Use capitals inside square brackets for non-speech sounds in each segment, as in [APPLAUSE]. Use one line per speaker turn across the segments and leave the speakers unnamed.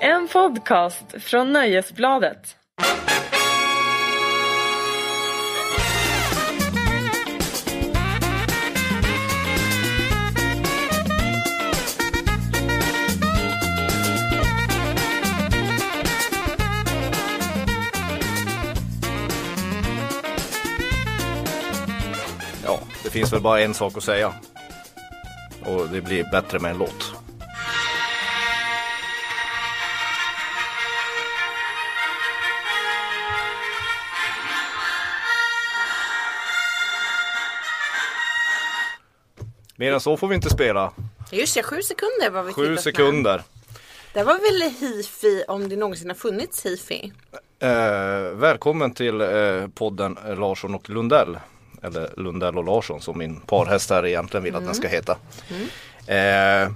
En podcast från Nöjesbladet.
Ja, det finns väl bara en sak att säga. Och det blir bättre med en låt. Mer än så får vi inte spela.
Just ja, sju sekunder var vi
Sju
tillåtna.
sekunder.
Det var väl hifi om det någonsin har funnits hifi.
Eh, välkommen till eh, podden eh, Larsson och Lundell. Eller Lundell och Larsson som min parhäst här egentligen vill att den ska heta. Eh, eh,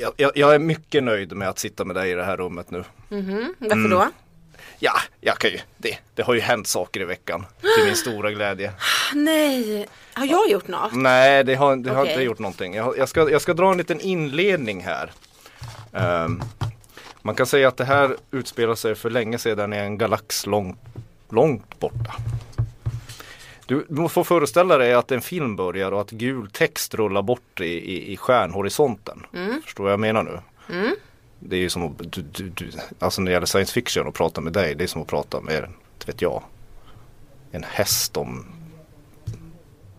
jag- jag, jag är mycket nöjd med att sitta med dig i det här rummet nu.
Varför
Mm.
då?
Ja, jag kan ju, det, det har ju hänt saker i veckan till min stora glädje.
Ah, Nej, har jag gjort något?
Nej, det har, det har
Okej.
inte gjort någonting. Jag, jag, ska, jag ska dra en liten inledning här. Ehm, man kan säga att det här utspelar sig för länge sedan i en galax långt, långt borta. Du, du får föreställa dig att en film börjar och att gul text rullar bort i, i, i stjärnhorisonten. Förstår vad jag menar nu? Det är ju som att, du, du, du, alltså när det gäller science fiction och prata med dig, det är som att prata med, inte vet jag, en häst om,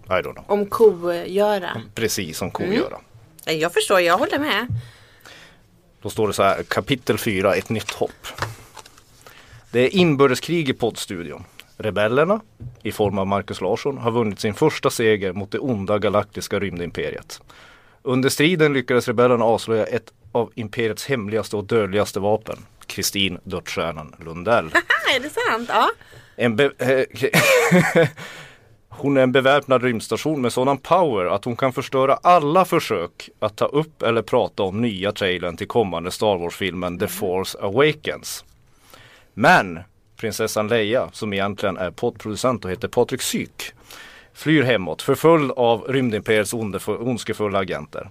I don't know.
Om kogöra.
Mm. Precis som kogöra.
Nej, Jag förstår, jag håller med.
Då står det så här, kapitel 4, ett nytt hopp. Det är inbördeskrig i poddstudion. Rebellerna, i form av Marcus Larsson, har vunnit sin första seger mot det onda galaktiska rymdimperiet. Under striden lyckades rebellerna avslöja ett av imperiets hemligaste och dödligaste vapen. Kristin Dödsstjärnan Lundell.
Haha, Ah, är det sant? Ja.
En be- eh, [LAUGHS] hon är en beväpnad rymdstation med sådan power att hon kan förstöra alla försök att ta upp eller prata om nya trailern till kommande Star Wars-filmen The Force Awakens. Men prinsessan Leia, som egentligen är poddproducent och heter Patrik Syk, flyr hemåt förföljd av rymdimperiets ondefö- ondskefulla agenter.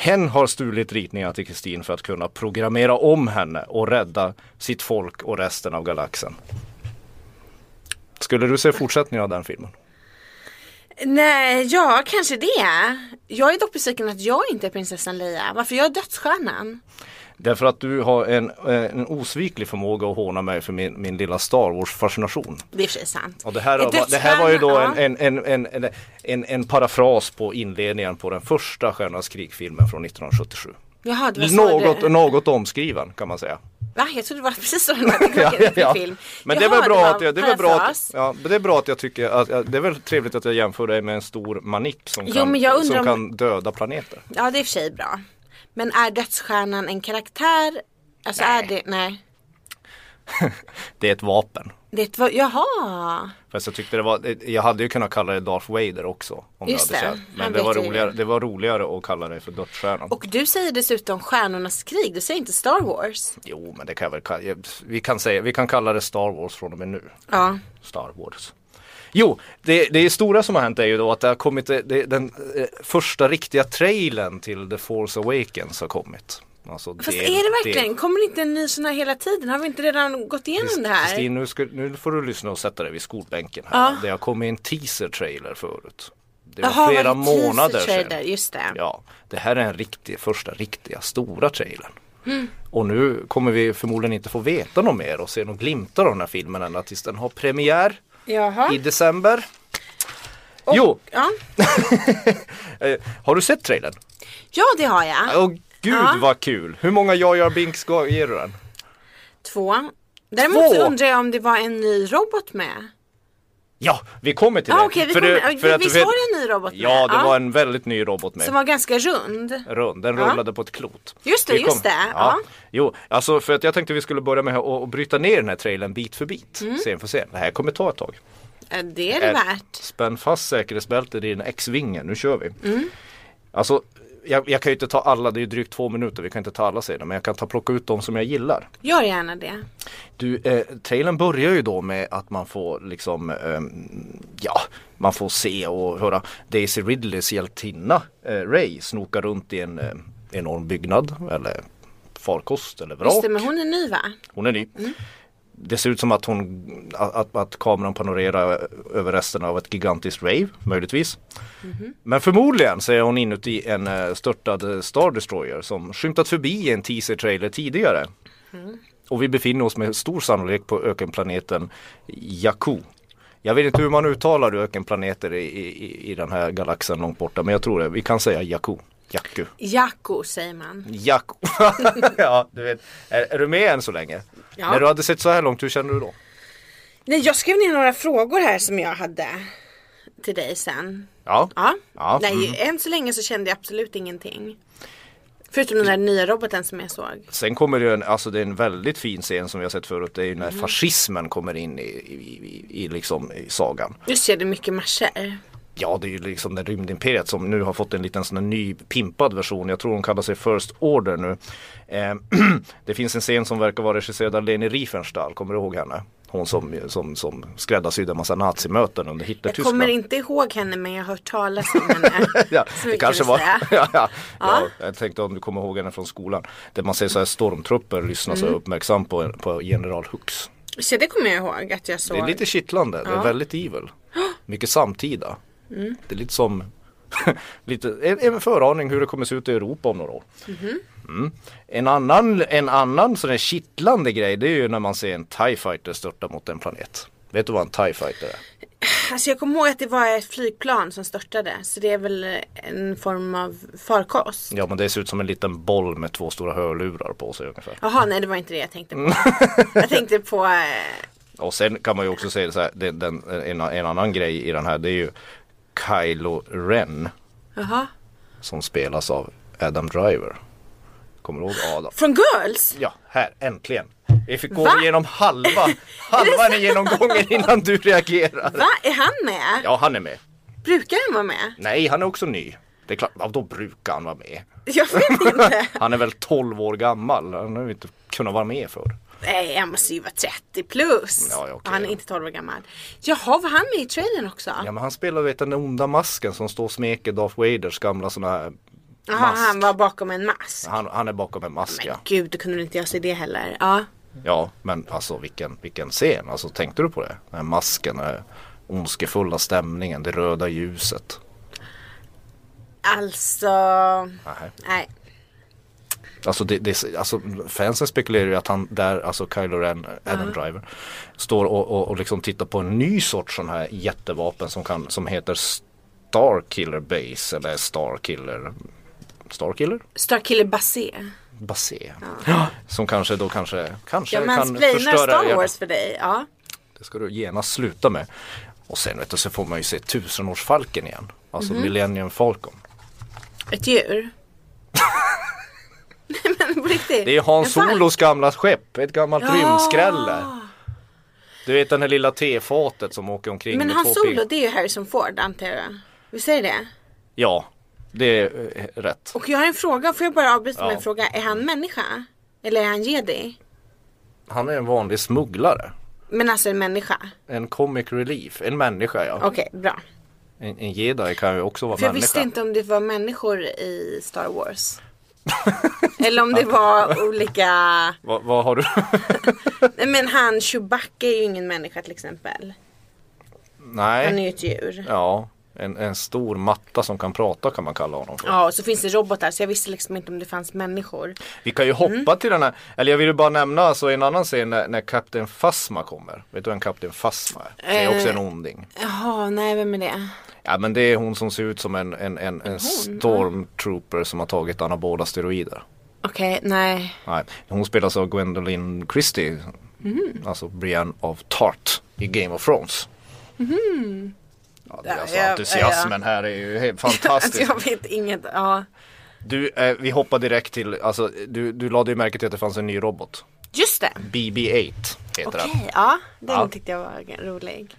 Hen har stulit ritningar till Kristin för att kunna programmera om henne och rädda sitt folk och resten av galaxen. Skulle du se fortsättningen av den filmen?
Nej, ja kanske det. Jag är dock besviken att jag inte är prinsessan Leia. Varför jag är dödsstjärnan?
Därför att du har en, eh, en osviklig förmåga att håna mig för min, min lilla Star Wars-fascination.
Det är i och för sig sant.
Och det, här,
Är
var, det här var ju då en,
dödsstjärnan-
en, en, en, en, en, en parafras på inledningen på den första Stjärnornas krig-filmen från 1977.
ja. Jaha, det var så
Något,
det...
något omskriven kan man säga.
Va? Jag trodde det var precis så
[LAUGHS]
den hade ja, film.
Men det är
Jaha,
väl bra
var
att jag, det är väl bra att,
parafras.
ja, men det är bra att jag tycker att, att det är väl trevligt att jag jämför dig med en stor manick som,
Jo,
kan,
men jag undrar
som
om-
kan döda planeter.
Ja, det är i och för sig bra. Men är dödsstjärnan en karaktär? Alltså är det, nej.
Det är ett vapen.
Det var, jaha.
Fast jag tyckte det var, eh, jag hade ju kunnat kalla det Darth Vader också. Om
Just
jag hade
det.
känt.
Han
Men det var,
vet ju.
roligare, det var roligare att kalla det för Dödsstjärnan.
Och du säger dessutom Stjärnornas krig, du säger inte Star Wars.
Jo men det kan jag väl kalla, jag- vi kan, säga, vi kan kalla det Star Wars från och med nu.
Ja.
Star Wars. Jo, det, det stora som har hänt är ju då att det har kommit, eh, det, den eh, första riktiga trailern till The Force Awakens har kommit. Alltså
Fast är det verkligen, kommer det inte en ny sån här hela tiden? Har vi inte redan gått igenom det här?
Kristin, nu, ska, nu får du lyssna och sätta dig vid skolbänken här.
Ja.
Det har kommit en teaser trailer förut. Det var
Jaha, var
flera
det
månader
teaser-trailer?
sedan.
Just det.
Ja, det här är en riktig, första riktiga stora trailern.
Mm.
Och nu kommer vi förmodligen inte få veta något mer och se några glimtar av den här filmen ända tills den har premiär
Jaha.
i december. Jo,
Ja.
eh, har du sett trailern?
ja, det har jag.
Åh gud
Ja.
vad kul! Hur många jag gör binks ga- ger du den?
Två. Däremot
Två?
så undrar jag om det var en ny robot med.
Ja, vi kommer till
Ja,
det!
Ah, okej, vi
För
kommer-
det-
ja,
för att-
visst
för-
var det en ny robot med?
Ja, det
Ja.
var en väldigt ny robot med.
Som var ganska rund.
rund, den
Ja.
rullade på ett klot.
Just det,
Vi kom-
just det,
Ja.
ja.
Jo, alltså för att jag tänkte vi skulle börja med att att bryta ner den här trailern bit för bit. Sen för sen. Det här kommer ta ett tag.
Eh, Det Mm. är det värt.
Spänn fast säkerhetsbältet i den X-vingen, nu kör vi.
Mm.
Alltså, jag, jag kan ju inte ta alla, det är ju drygt två minuter, vi kan inte ta alla scener, men jag kan ta plocka ut de som jag gillar.
Gör gärna det.
Du, eh, trailern börjar ju då med att man får liksom, ehm, ja, man får se och höra Daisy Ridleys hjältinna eh, Ray snoka runt i en eh, enorm byggnad eller farkost eller vrak.
Just det, men hon är ny va?
Hon är ny. Det ser ut som att, hon, att, att kameran panorerar över resten av ett gigantiskt rave, möjligtvis. Men förmodligen så är hon inuti en eh, störtad eh, Star Destroyer som skymtat förbi i en teaser-trailer tidigare. Och vi befinner oss med stor sannolikhet på ökenplaneten Jakku. Jag vet inte hur man uttalar ökenplaneter i, i, i den här galaxen långt borta, men jag tror det. Vi kan säga Jakku. Jakku.
Jacko säger man.
Jakko. [LAUGHS] ja, du vet. Är, är du med än så länge?
Ja.
När du hade sett så här långt, hur känner du då?
Nej, jag skrev ner några frågor här som jag hade till dig sen.
Ja.
Ja.
Ja, Mm.
Nej, än så länge så kände jag absolut ingenting. Förutom den där nya roboten som jag såg.
Sen kommer det ju en, alltså det är en väldigt fin scen som vi har sett förut. Det är ju när
Mm.
fascismen kommer in i, i, i, i, liksom, i sagan.
Just det, det är mycket marscher.
Ja, det är ju liksom den rymdimperiet som nu har fått en liten sån här ny pimpad version. Jag tror de kallar sig First Order nu. Eh, [CLEARS THROAT] det finns en scen som verkar vara regisserad av Leni Riefenstahl. Kommer du ihåg henne? Hon som, som, som skräddarsydde en massa nazimöten under
Jag
Hitler-Tyskland.
kommer inte ihåg henne men jag har hört talas om henne.
[LAUGHS] Ja,
Så
det
mycket
kanske
kan
var.
vi
[LAUGHS] Ja,
säga.
ja. Ja. jag tänkte om du kommer ihåg henne från skolan. Där man ser så här stormtrupper lyssna
Mm.
så uppmärksam på, på general Hux.
Så det kommer jag ihåg att jag såg.
Det är lite kittlande, det är väldigt evil. Mycket samtida.
Mm.
Det är lite som [LAUGHS] lite, en, en föraning hur det kommer se ut i Europa om några år.
Mhm.
Mm. En annan, en annan sån här kittlande grej det är ju när man ser en TIE fighter störta mot en planet. Vet du vad en TIE fighter är?
Alltså jag kommer ihåg att det var ett flygplan som störtade. Så det är väl en form av farkost.
Ja men det ser ut som en liten boll med två stora hörlurar på sig ungefär.
Jaha, nej det var inte det jag
[LAUGHS]
tänkte på. Jag tänkte på eh,
Och sen kan man ju också säga så här, den, den, en, en annan grej i den här det är ju Kylo Ren
Jaha.
som spelas av Adam Driver. Kommer du ihåg Adam?
Från Girls?
Ja, här, äntligen! Vi fick gå
Va?
igenom
[LAUGHS]
halva, halva genomgången innan du reagerar.
Va? Är han med?
Ja, han är med.
Brukar han vara med?
Nej, han är också ny. Det är klart, ja, då brukar han vara med.
Jag vet
[LAUGHS]
inte.
Han är väl 12 år gammal, han har ju inte kunnat vara med förr.
Nej, han måste ju vara 30 plus.
Ja, ja, okej,
Och han är
ja.
inte 12 år gammal. Jaha, var han med i trailern också?
Ja, men han spelar vet, den där onda masken som står och smeker Darth Vaders gamla sån här
Jaha,
mask.
han var bakom en mask.
Han, han är bakom en mask ja.
Men gud, då kunde du inte jag se det heller. Ja.
Ja, men alltså vilken, vilken scen. Alltså tänkte du på det? Den här masken, den här ondskefulla stämningen, det röda ljuset.
Alltså...
Nej.
Nej.
Alltså, det, det, alltså fansen spekulerar ju att han där, alltså Kylo Ren, Adam Driver, står och, och, och liksom tittar på en ny sorts sån här jättevapen som, kan, som heter Starkiller Base eller Starkiller Starkiller?
Starkiller Basé.
Basé. Som kanske då kanske, kanske
Jag
kan
mansplainar
förstöra
Star
er-
Wars för dig. Ja.
Det ska du genast sluta med. Och sen vet du, så får man ju se tusenårsfalken igen. Alltså
Mhm.
Millennium Falcon. [LAUGHS]
Ett djur. [LAUGHS] Nej men på riktigt.
Det är Hans
En falk.
Solos gamla skepp, ett gammalt
Ja.
rymdskrälle. Du vet den här lilla tefatet som åker omkring
Men
med
Hans
två pin-
Solo det är ju Harrison Ford antar jag. Vi säger det?
Ja, det är eh, rätt.
Och jag har en fråga, får jag bara avbryta med
Ja.
en fråga? Är han människa? Eller är han jedi?
Han är en vanlig smugglare.
Men alltså en människa?
En comic relief, en människa ja.
Okej, bra.
En, en jedi kan ju också vara
För jag
människa.
visste inte om det var människor i Star Wars. Eller om det var olika,
[LAUGHS] Vad, vad
[LAUGHS]
har du?
Nej, men han Chewbacca är ju ingen människa till exempel. Han är
Nej,
ju ett djur.
ja. En, en stor matta som kan prata kan man kalla honom för.
Ja, och så finns det robotar så jag visste liksom inte om det fanns människor.
Vi kan ju hoppa
Mm.
till den här, eller jag vill ju bara nämna alltså en annan scen när, när Kapten Fasma kommer. Vet du vem Kapten Fasma är? Det är också en
Eh.
onding.
Jaha, nej vem är det?
Ja men det är hon som ser ut som en, en, en, en stormtrooper som har tagit anabola steroider.
Okej, nej.
Nej, hon spelas av Gwendolyn Christie,
Mhm.
alltså Brienne of Tart i Game of Thrones. Ja, det är alltså
Mhm. Ja, ja,
entusiasmen här är ju helt fantastisk.
[LAUGHS] Alltså jag vet inget, ja.
Du, eh, vi hoppar direkt till, alltså du, du lade ju märke till att det fanns en ny robot.
Just det.
BB-8 heter
Okej,
den.
ja. Den
Ja.
tyckte jag var rolig.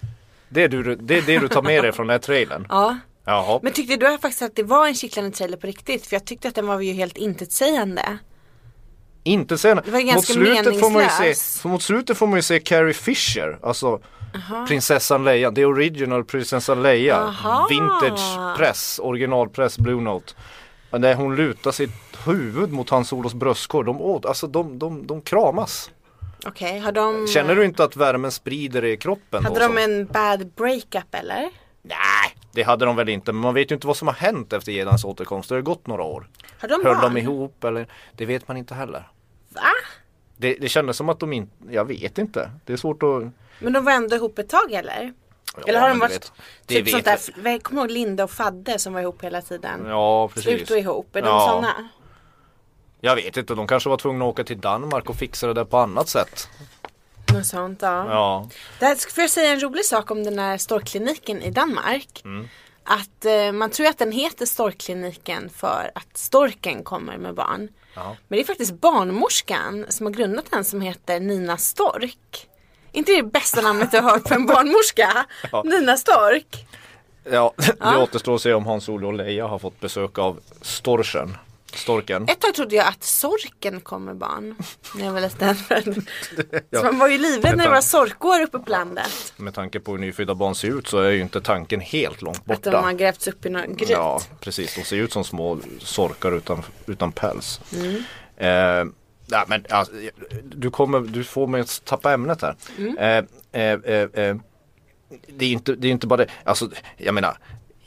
Det är, du, det är det du tar med dig från den här trailern?
Ja.
Jaha.
Men tyckte du faktiskt att det var en kittlande trailer på riktigt? För jag tyckte att den var ju helt intetsägande.
Inte sen.
var
Mot
ganska
slutet, får man ju
meningslös.
se, mot slutet får man ju se Carrie Fisher, alltså prinsessan Leia, the original prinsessan Leia.
Aha.
Vintage press, originalpress Blue Note. När hon lutar sitt huvud mot hans Solos bröstkorg, de, åt, alltså de, de, de kramas.
Okej, har de...
Känner du inte att värmen sprider i kroppen?
Mm. Hade
då,
de
som-
en bad breakup eller?
Nej, det hade de väl inte. Men man vet ju inte vad som har hänt efter Jedans återkomst. Det har gått några år.
Har de
Höll
barn?
de ihop eller? Det vet man inte heller.
Va?
Det, det kändes som att de inte, jag vet inte. Det är svårt att...
Men de var ändå ihop ett tag eller?
Ja,
eller har
men
de
du
varit
vet,
typ
det
sånt
vet
där, jag kommer ihåg Linda och Fadde som var ihop hela tiden?
Ja, precis.
Slut och ihop, är de
Ja.
såna?
Jag vet inte, de kanske var tvungna att åka till Danmark och fixa det där på annat sätt.
Något sånt ja.
Ja,
Där får jag säga en rolig sak om den här storkliniken i Danmark?
Mm.
Att eh, man tror att den heter storkliniken för att storken kommer med barn.
ja.
Men det är faktiskt barnmorskan som har grundat den som heter Nina Stork. Inte det bästa namnet jag har hört på en barnmorska?
[LAUGHS] Ja.
Nina Stork.
ja [LAUGHS] det
Ja.
återstår att se om Hans-Olof och Leia har fått besök av storchen. Storken.
Ett tag trodde jag att sorken kom med barn när jag var liten. [LAUGHS] Så man var ju livrädd när det var sorkår uppe på landet.
Med tanke på hur nyfödda barn ser ut så är ju inte tanken helt långt
Att de har
borta.
grävts upp i någon gryt.
Ja, precis. De ser ut som små sorkar utan, utan päls. Eh, nej, men, alltså, du, kommer, du får mig att tappa ämnet här. Eh, eh, eh, eh, det är inte, det är inte bara det. Alltså, jag menar,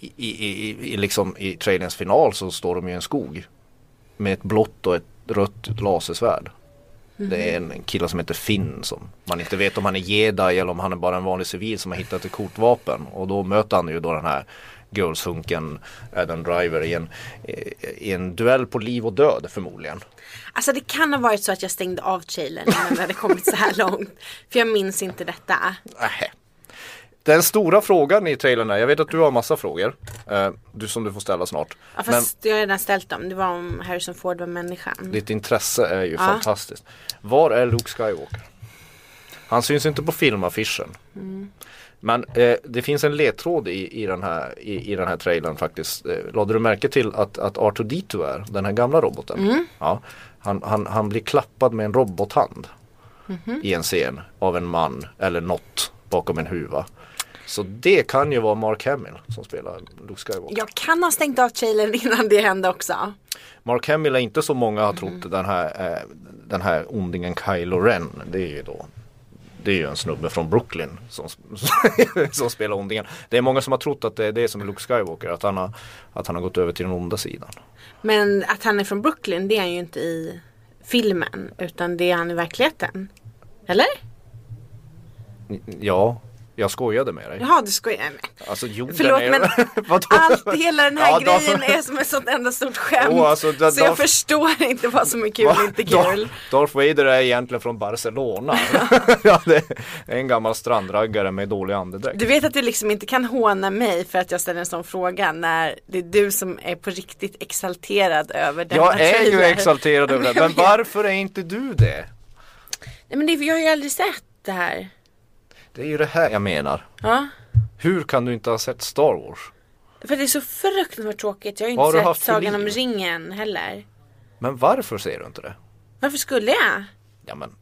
i, i, i, i, liksom, i trailens final så står de i en skog med ett blått och ett rött lasersvärd. Det är en
Mhm.
kille som heter Finn som man inte vet om han är jedi eller om han är bara en vanlig civil som har hittat ett kortvapen. Och då möter han ju då den här girlshunken Adam Driver i en, i en duell på liv och död förmodligen.
Alltså det kan ha varit så att jag stängde av trailern innan det hade kommit så här långt. För jag minns inte detta.
Nähä. Den stora frågan i trailern är, jag vet att du har massa frågor eh, du, som du får ställa snart.
Ja,
Men
fast jag har redan ställt dem. Det var om Harrison Ford var människan.
ditt intresse är ju fantastiskt. Var är Luke Skywalker? Han syns inte på filmaffischen. Men eh, det finns en ledtråd i, i, den här, i, i den här trailern faktiskt. Eh, lade du märke till att, att R2D2 är den här gamla roboten? Ja, han, han, han blir klappad med en robothand i en scen av en man eller något bakom en huva. Så det kan ju vara Mark Hamill som spelar Luke Skywalker.
Jag kan ha stängt av trailern innan det hände också.
Mark Hamill är inte så många har trott
Mm.
den här, eh, den här ondingen Kylo Ren. Det är ju då det är ju en snubbe från Brooklyn som, [LAUGHS] som spelar ondingen. Det är många som har trott att det är det som är Luke Skywalker, att han har, att han har gått över till den onda sidan.
Men att han är från Brooklyn det är han ju inte i filmen. Utan det är han i verkligheten. Eller?
Ja, jag skojade med dig.
Jaha du skojar. Nej, men
Alltså jorden
Förlåt,
är...
men
[LAUGHS] Vadå?
Allt, hela den här
Ja, då-
grejen är som ett sånt enda stort skämt.
Jo, alltså, det-
så jag
då-
förstår inte vad som är kul och
[LAUGHS]
inte kul.
Darth- Darth Vader är egentligen från Barcelona. [LAUGHS] ja, det är en gammal strandraggare med dålig andedräkt.
Du vet att du liksom inte kan håna mig för att jag ställer en sån fråga när det är du som är på riktigt exalterad över denna
Jag är ju
trailer.
exalterad över det,
Jag [LAUGHS]
men
vet.
varför är inte du det?
Nej men det, jag har ju aldrig sett det här.
Det är ju det här jag menar.
Ja.
Hur kan du inte ha sett Star Wars?
För det är så fruktansvärt tråkigt. Jag har ju
Vad har du
inte
haft
sett
för
Sagan om
liv?
ringen heller.
Men varför ser du inte det?
Varför skulle jag?
Ja, men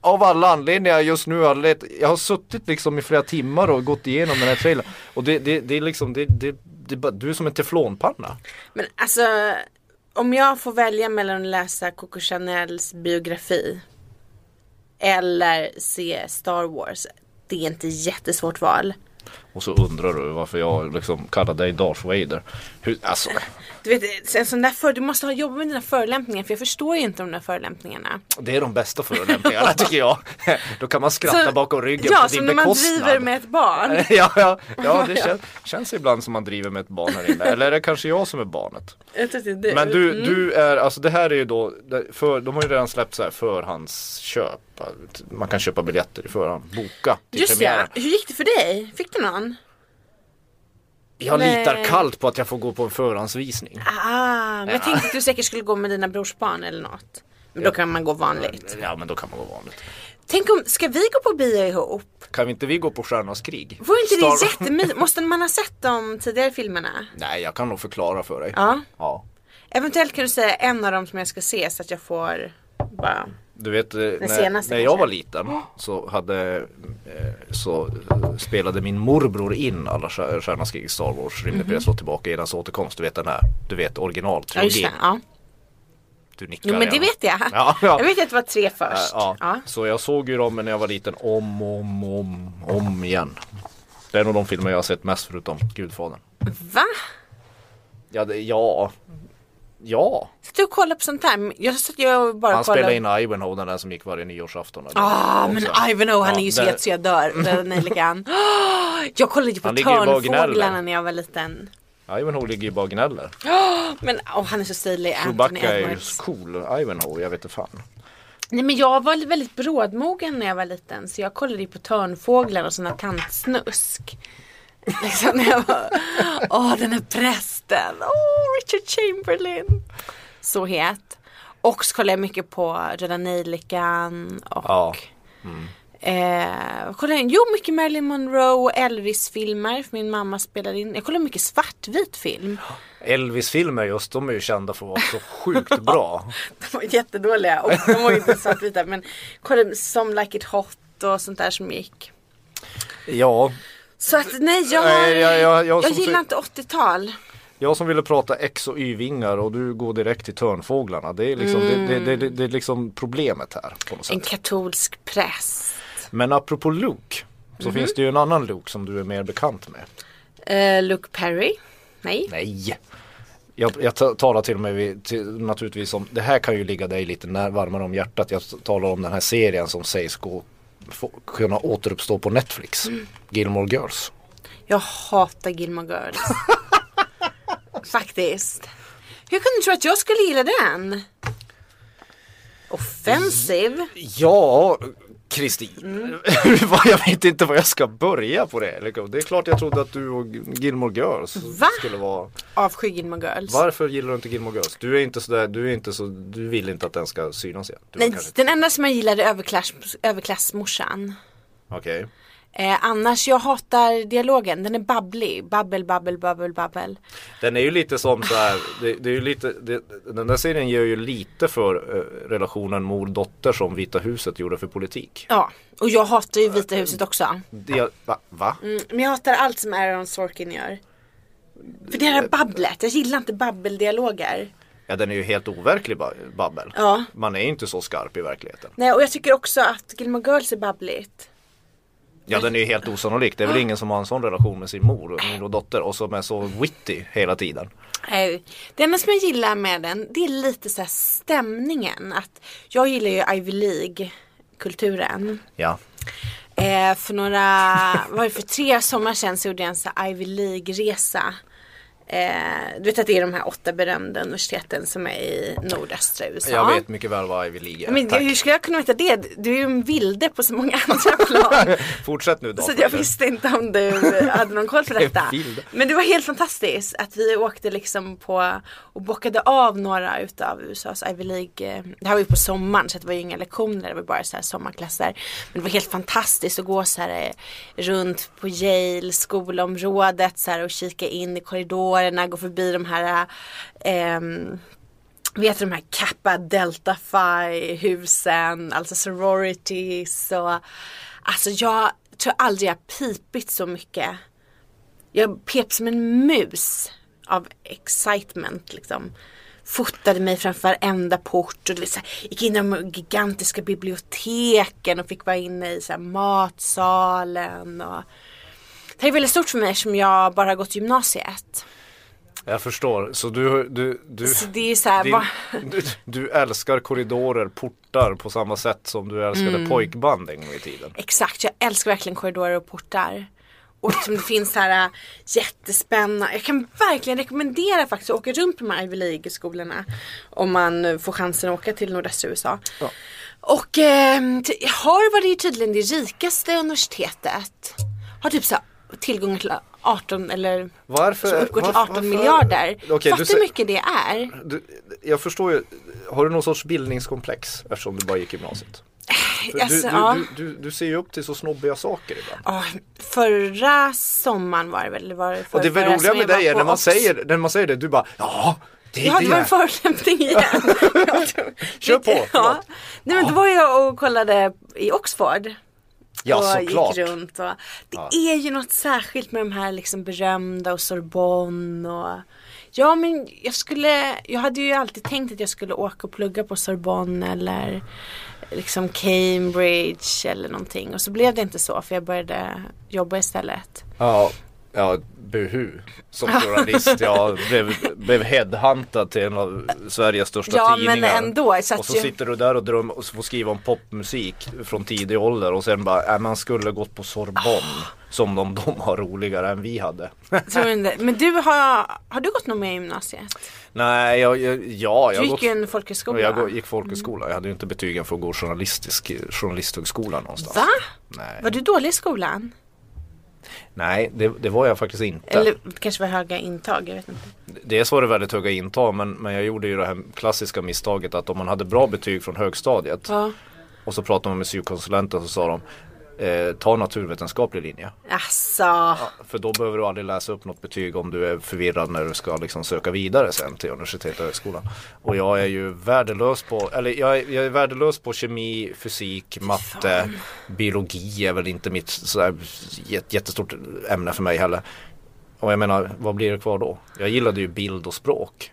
av alla anledningar just nu har let, jag har suttit liksom i flera timmar och gått igenom den här trailern. Och det, det, det är liksom, det, det, det, är bara- du är som en teflonpanna.
Men alltså, om jag får välja mellan att läsa Coco Chanels biografi eller se Star Wars. Det är inte jättesvårt val.
Och så undrar du varför jag liksom kallar dig Darth Vader. Hur, alltså,
Du vet, en sån där för, du måste ha jobbat med dina förolämpningar för jag förstår ju inte de där förolämpningarna.
det är de bästa förolämpningarna [LAUGHS] tycker jag. Då kan man skratta bakom ryggen
Ja,
på
som
din
när man
bekostnad.
driver med ett barn.
[LAUGHS] ja, ja, ja,
[LAUGHS]
det kän, känns ibland som man driver med ett barn här inne. Eller är det kanske jag som är barnet?
Jag tror att det är du.
Men du, du är, alltså det här är ju då, det- för, de har ju redan släppt så här förhandsköp. Man kan köpa biljetter i förhand, boka till
Just ja,
premiären.
hur gick det för dig? Fick du någon?
Jag
Nej.
litar kallt på att jag får gå på en förhandsvisning.
Ah, men jag tänkte att du säkert skulle gå med dina brorsbarn eller något. Men då kan man gå vanligt.
Ja men då kan man gå vanligt.
Tänk om, ska vi gå på bio ihop?
Kan vi inte vi gå på Stjärnornas krig?
Vore inte det
Star-
jättemysigt? Måste man ha sett de tidigare filmerna?
Nej jag kan nog förklara för dig.
Ja.
ja.
Eventuellt kan du säga en av dem som jag ska se så att jag får bara
Du vet, eh, när,
senaste
när jag
kanske.
var liten så, hade, eh, så eh, spelade min morbror in alla Stjär- Stjärnornas krig, Star Wars, Rymdimperie slår tillbaka i dess återkomst. Du vet den här, du vet
Mhm. Ja, just
originaltrilogin.
det. Ja.
du nickar
Jo men det
redan.
vet [LAUGHS] jag.
Ja, ja.
Jag vet att det var tre
Äh,
först.
Ja.
Ja.
Så jag såg ju dem när jag var liten om och om, och om, om igen. Det är nog de filmer jag har sett mest förutom Gudfadern.
Va?
Ja, det, ja. Ja,
Satt du och kollade på sånt här? Jag satt ju och bara
han
kollade.
spelade in Ivanhoe den där som gick varje nyårsafton. eller-
Ah,
och
men
så här.
Ivanhoe han
Ja,
är ju så
den-
het så jag dör.
[LAUGHS]
Den nejlikan. Ah, [GASPS] jag kollade ju på
Han ligger ju bara och
Törnfåglarna
gnäller.
när jag var liten.
Ivanhoe ligger ju bara och gnäller.
Men åh, han är så stilig, Anthony
Chewbacca är ju
Edwards.
cool, Ivanhoe, jag vet inte fan.
Nej men jag var väldigt brådmogen när jag var liten så jag kollade ju på Törnfåglarna och såna tantsnusk. [LAUGHS] Liksom när jag var, åh den här prästen, åh Richard Chamberlain. Så het. Och så kollade jag mycket på Röda Nejlikan och
Ja.
Eh, vad kollade jag in? Jo, mycket Marilyn Monroe och Elvis-filmer för min mamma spelade in. Jag kollade mycket svartvit film.
Elvis-filmer just, de är ju kända för att vara så
[LAUGHS]
sjukt bra.
De var jättedåliga och de var inte svartvita men kollade Some Like It Hot och sånt där som gick.
Ja,
Så att nej, jag,
Nej, jag- jag- jag som
gillar
sagt-
inte 80-tal.
jag som ville prata X och Y-vingar och du går direkt till törnfåglarna. Det är liksom,
Mm.
det, det, det, det är liksom problemet här. På något
En
sätt.
katolsk präst.
Men apropå Luke, så
Mhm.
finns det ju en annan Luke som du är mer bekant med.
Eh, Luke Perry. Nej.
Nej! Jag, jag ta- talar till och med vid, till, naturligtvis om, det här kan ju ligga dig lite när, varmare om hjärtat. Jag talar om den här serien som sägs gå, få, kunna återuppstå på Netflix.
Mm.
Gilmore Girls.
Jag hatar
[LAUGHS]
Gilmore Girls. Faktiskt. Hur kunde du tro att jag skulle gilla den?
Mm.
Offensiv.
Ja, Kristin. Mm. [LAUGHS] Vad- jag vet inte var jag ska börja på det. liksom. Det är klart jag trodde att du och Gilmore Girls
Va?
skulle vara.
Avsky Gilmore Girls.
Varför gillar du inte Gilmore Girls? Du är inte sådär, du är inte så, du vill inte att den ska synas igen. Du var
Nej,
kanske inte-
den enda som jag gillade är överklass, överklassmorsan.
Okej.
Eh, annars, jag hatar dialogen. Den är babblig. Babbel, babbel, babbel, babbel.
Den är ju lite som så här, det, det är ju lite, det, den där serien gör ju lite för eh, relationen mor-dotter som Vita huset gjorde för politik.
Ja, och jag hatar ju Vita huset också.
Det, va? va?
Mm, Men jag hatar allt som Aaron Sorkin gör. För det här babblet, jag gillar inte babbeldialoger.
Ja den är ju helt overklig ba- babbel.
Ja.
Man är ju inte så skarp i verkligheten.
Nej, och jag tycker också att Gilmore Girls är babbligt.
Ja den är ju helt osannolik. Det är väl ingen som har en sån relation med sin mor, mor och dotter och som är så witty hela tiden.
Nej, Eh, Det enda som jag gillar med den, det är lite så här stämningen. Att jag gillar ju Ivy League-kulturen.
Ja.
Eh, för några, vad var det för tre sommar sedan så gjorde jag en så här Ivy League-resa. Eh, du vet att det är de här åtta berömda universiteten som är i nordöstra USA.
Jag vet mycket väl vad Ivy League är.
Men
Tack.
hur skulle jag kunna veta det? Du är ju en vilde på så många andra
[LAUGHS]
plan.
Fortsätt nu då.
Så att jag visste inte om du hade någon koll på detta.
En vilde.
Men det var helt fantastiskt att vi åkte liksom på och bockade av några utav USAs Ivy League. eh, Det här var ju på sommaren så det var ju inga lektioner, det var bara så här sommarklasser. Men det var helt fantastiskt att gå så här eh, runt på Yale skolområdet så här och kika in i korridorerna, gå förbi de här ehm, Vet du de här Kappa Delta Phi husen, alltså sororities och Alltså jag tror aldrig jag pipit så mycket Jag pep som en mus av excitement liksom Fotade mig framför varenda port och du vet, så här, gick in i de gigantiska biblioteken och fick vara inne i så här, matsalen och Det här är väldigt stort för mig som jag bara har gått gymnasiet
Jag förstår. Så du, du, du...
Så det är så här,
Din,
va-
du, du älskar korridorer, portar på samma sätt som du älskade
Mm.
pojkband en gång i tiden.
Exakt, jag älskar verkligen korridorer och portar. Och liksom det finns så här äh, jättespännande, jag kan verkligen rekommendera faktiskt att åka runt på de här Ivy League-skolorna. Om man eh, får chansen att åka till nordöstra USA. Och eh, Harvard är ju tydligen det rikaste universitetet. Har typ så här tillgång till 18 eller
Varför?
som uppgår till 18
varför- varför-
miljarder.
Okej,
Fattar
du
hur
säger-
mycket det är.
Du, jag förstår ju, har du någon sorts bildningskomplex eftersom du bara gick gymnasiet? För
Alltså,
du,
ja.
du, du, du, du ser ju upp till så snobbiga saker ibland.
Ja, förra sommaren var det väl? eller Var det
Och det är väl
förrförra
roliga
som
med
jag var
dig är
på
när man,
Ox-
säger, när man säger det, du bara ja Det
Jag hade
det
varit en förolämpning igen.
[LAUGHS]
Jag tror-
Kör på,
[LAUGHS] Ja.
förlåt.
Nej men då var jag och kollade i Oxford.
Ja,
och
såklart.
gick runt och Det
Ja.
är ju något särskilt med de här liksom berömda och Sorbonne och Ja men jag skulle, jag hade ju alltid tänkt att jag skulle åka och plugga på Sorbonne eller liksom Cambridge eller någonting och så blev det inte så för jag började jobba istället.
Ja, ja buhu. Som journalist, jag blev, blev headhuntad till en av Sveriges största
Ja, men
tidningar.
ändå, så att
och så
ju-
sitter du där och drömmer och så får skriva om popmusik från tidig ålder och sen bara, äh, man skulle gått på Sorbonne.
Ah.
Som de, de har roligare än vi hade.
Tror inte. Men du har, har du gått något mer i gymnasiet?
Nej, jag, jag, ja,
Du
jag, har
gick
gått,
ju en Mm. folkhögskola.
jag går- gick folkhögskola. Jag hade ju inte betygen för att gå journalistisk, journalisthögskola någonstans.
Va?
Nej,
Var du dålig i skolan?
Nej det, det var jag faktiskt inte.
Eller det kanske var höga intag, jag vet inte.
Dels var det väldigt höga intag men, men jag gjorde ju det här klassiska misstaget att om man hade bra betyg från högstadiet
Ja.
och så pratade man med syokonsulenten så sa de eh, ta naturvetenskaplig linje.
Alltså.
För då behöver du aldrig läsa upp något betyg om du är förvirrad när du ska liksom söka vidare sen till universitet och högskolan. Och jag är ju värdelös på, eller jag är, jag är värdelös på kemi, fysik, matte, biologi är väl inte mitt sådär jät- jättestort ämne för mig heller. Och jag menar, vad blir det kvar då? Jag gillade ju bild och språk.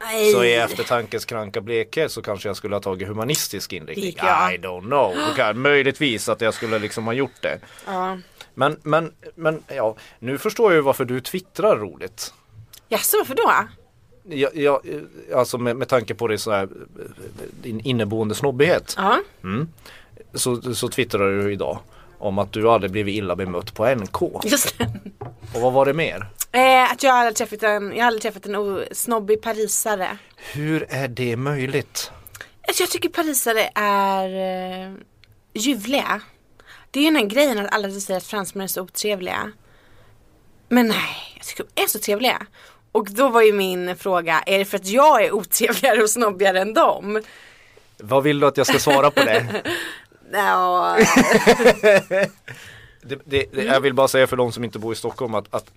Nej.
Så i eftertankens kranka blekhet så kanske jag skulle ha tagit humanistisk inriktning.
Gick jag?
I don't know. Det kan- Möjligtvis att jag skulle liksom ha gjort det.
Ja.
Men, men, men ja, nu förstår jag ju varför du twittrar roligt.
Jaså, varför då?
Jag, jag, eh, alltså med, med tanke på din, så här, eh, din inneboende snobbighet
Ja.
så, så twittrar du ju idag om att du aldrig blivit illa bemött på NK.
Just det.
Och vad var det mer?
Eh, att jag aldrig träffat en, jag har aldrig träffat en osnobbig parisare.
Hur är det möjligt?
Alltså jag tycker parisare är eh, ljuvliga. Det är ju den här grejen att alla säger att fransmän är så otrevliga. Men nej, jag tycker de är så trevliga. Och då var ju min fråga, är det för att jag är otrevligare och snobbigare än dem?
Vad vill du att jag ska svara på det? [LAUGHS]
Ja,
Det, det, det, jag vill bara säga för de som inte bor i Stockholm att, att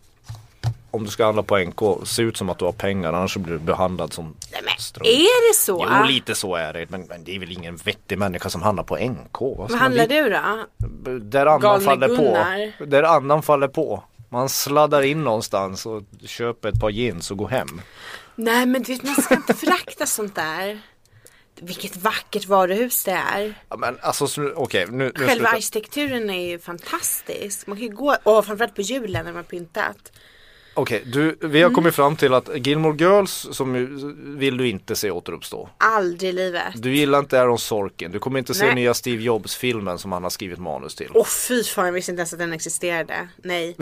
om du ska handla på NK, se ut som att du har pengar annars så blir du behandlad som
nej, men
strunt.
är det så?
[LAUGHS] Jo lite så är det men, men det är väl ingen vettig människa som handlar på NK. Vad ska
Vad
man
handlar
dit-
du då?
Där andan
Galne
faller på.
Gunnar?
Där andan faller på. Man sladdar in någonstans och köper ett par jeans och går hem.
Nej men du vet man ska inte förakta sånt där. Vilket vackert varuhus det är.
Ja, men alltså så- okej nu, nu
Själva
slutar-
arkitekturen är ju fantastisk. Man kan ju gå, och framförallt på julen när man har pyntat.
Okej, du, vi
Mm.
har kommit fram till att Gilmore Girls som ju, vill du inte se återuppstå.
Aldrig i livet.
Du gillar inte Aaron Sorkin, du kommer inte se
Nej.
nya Steve Jobs-filmen som han har skrivit manus till.
Åh fy fan, jag visste inte ens att den existerade. Nej,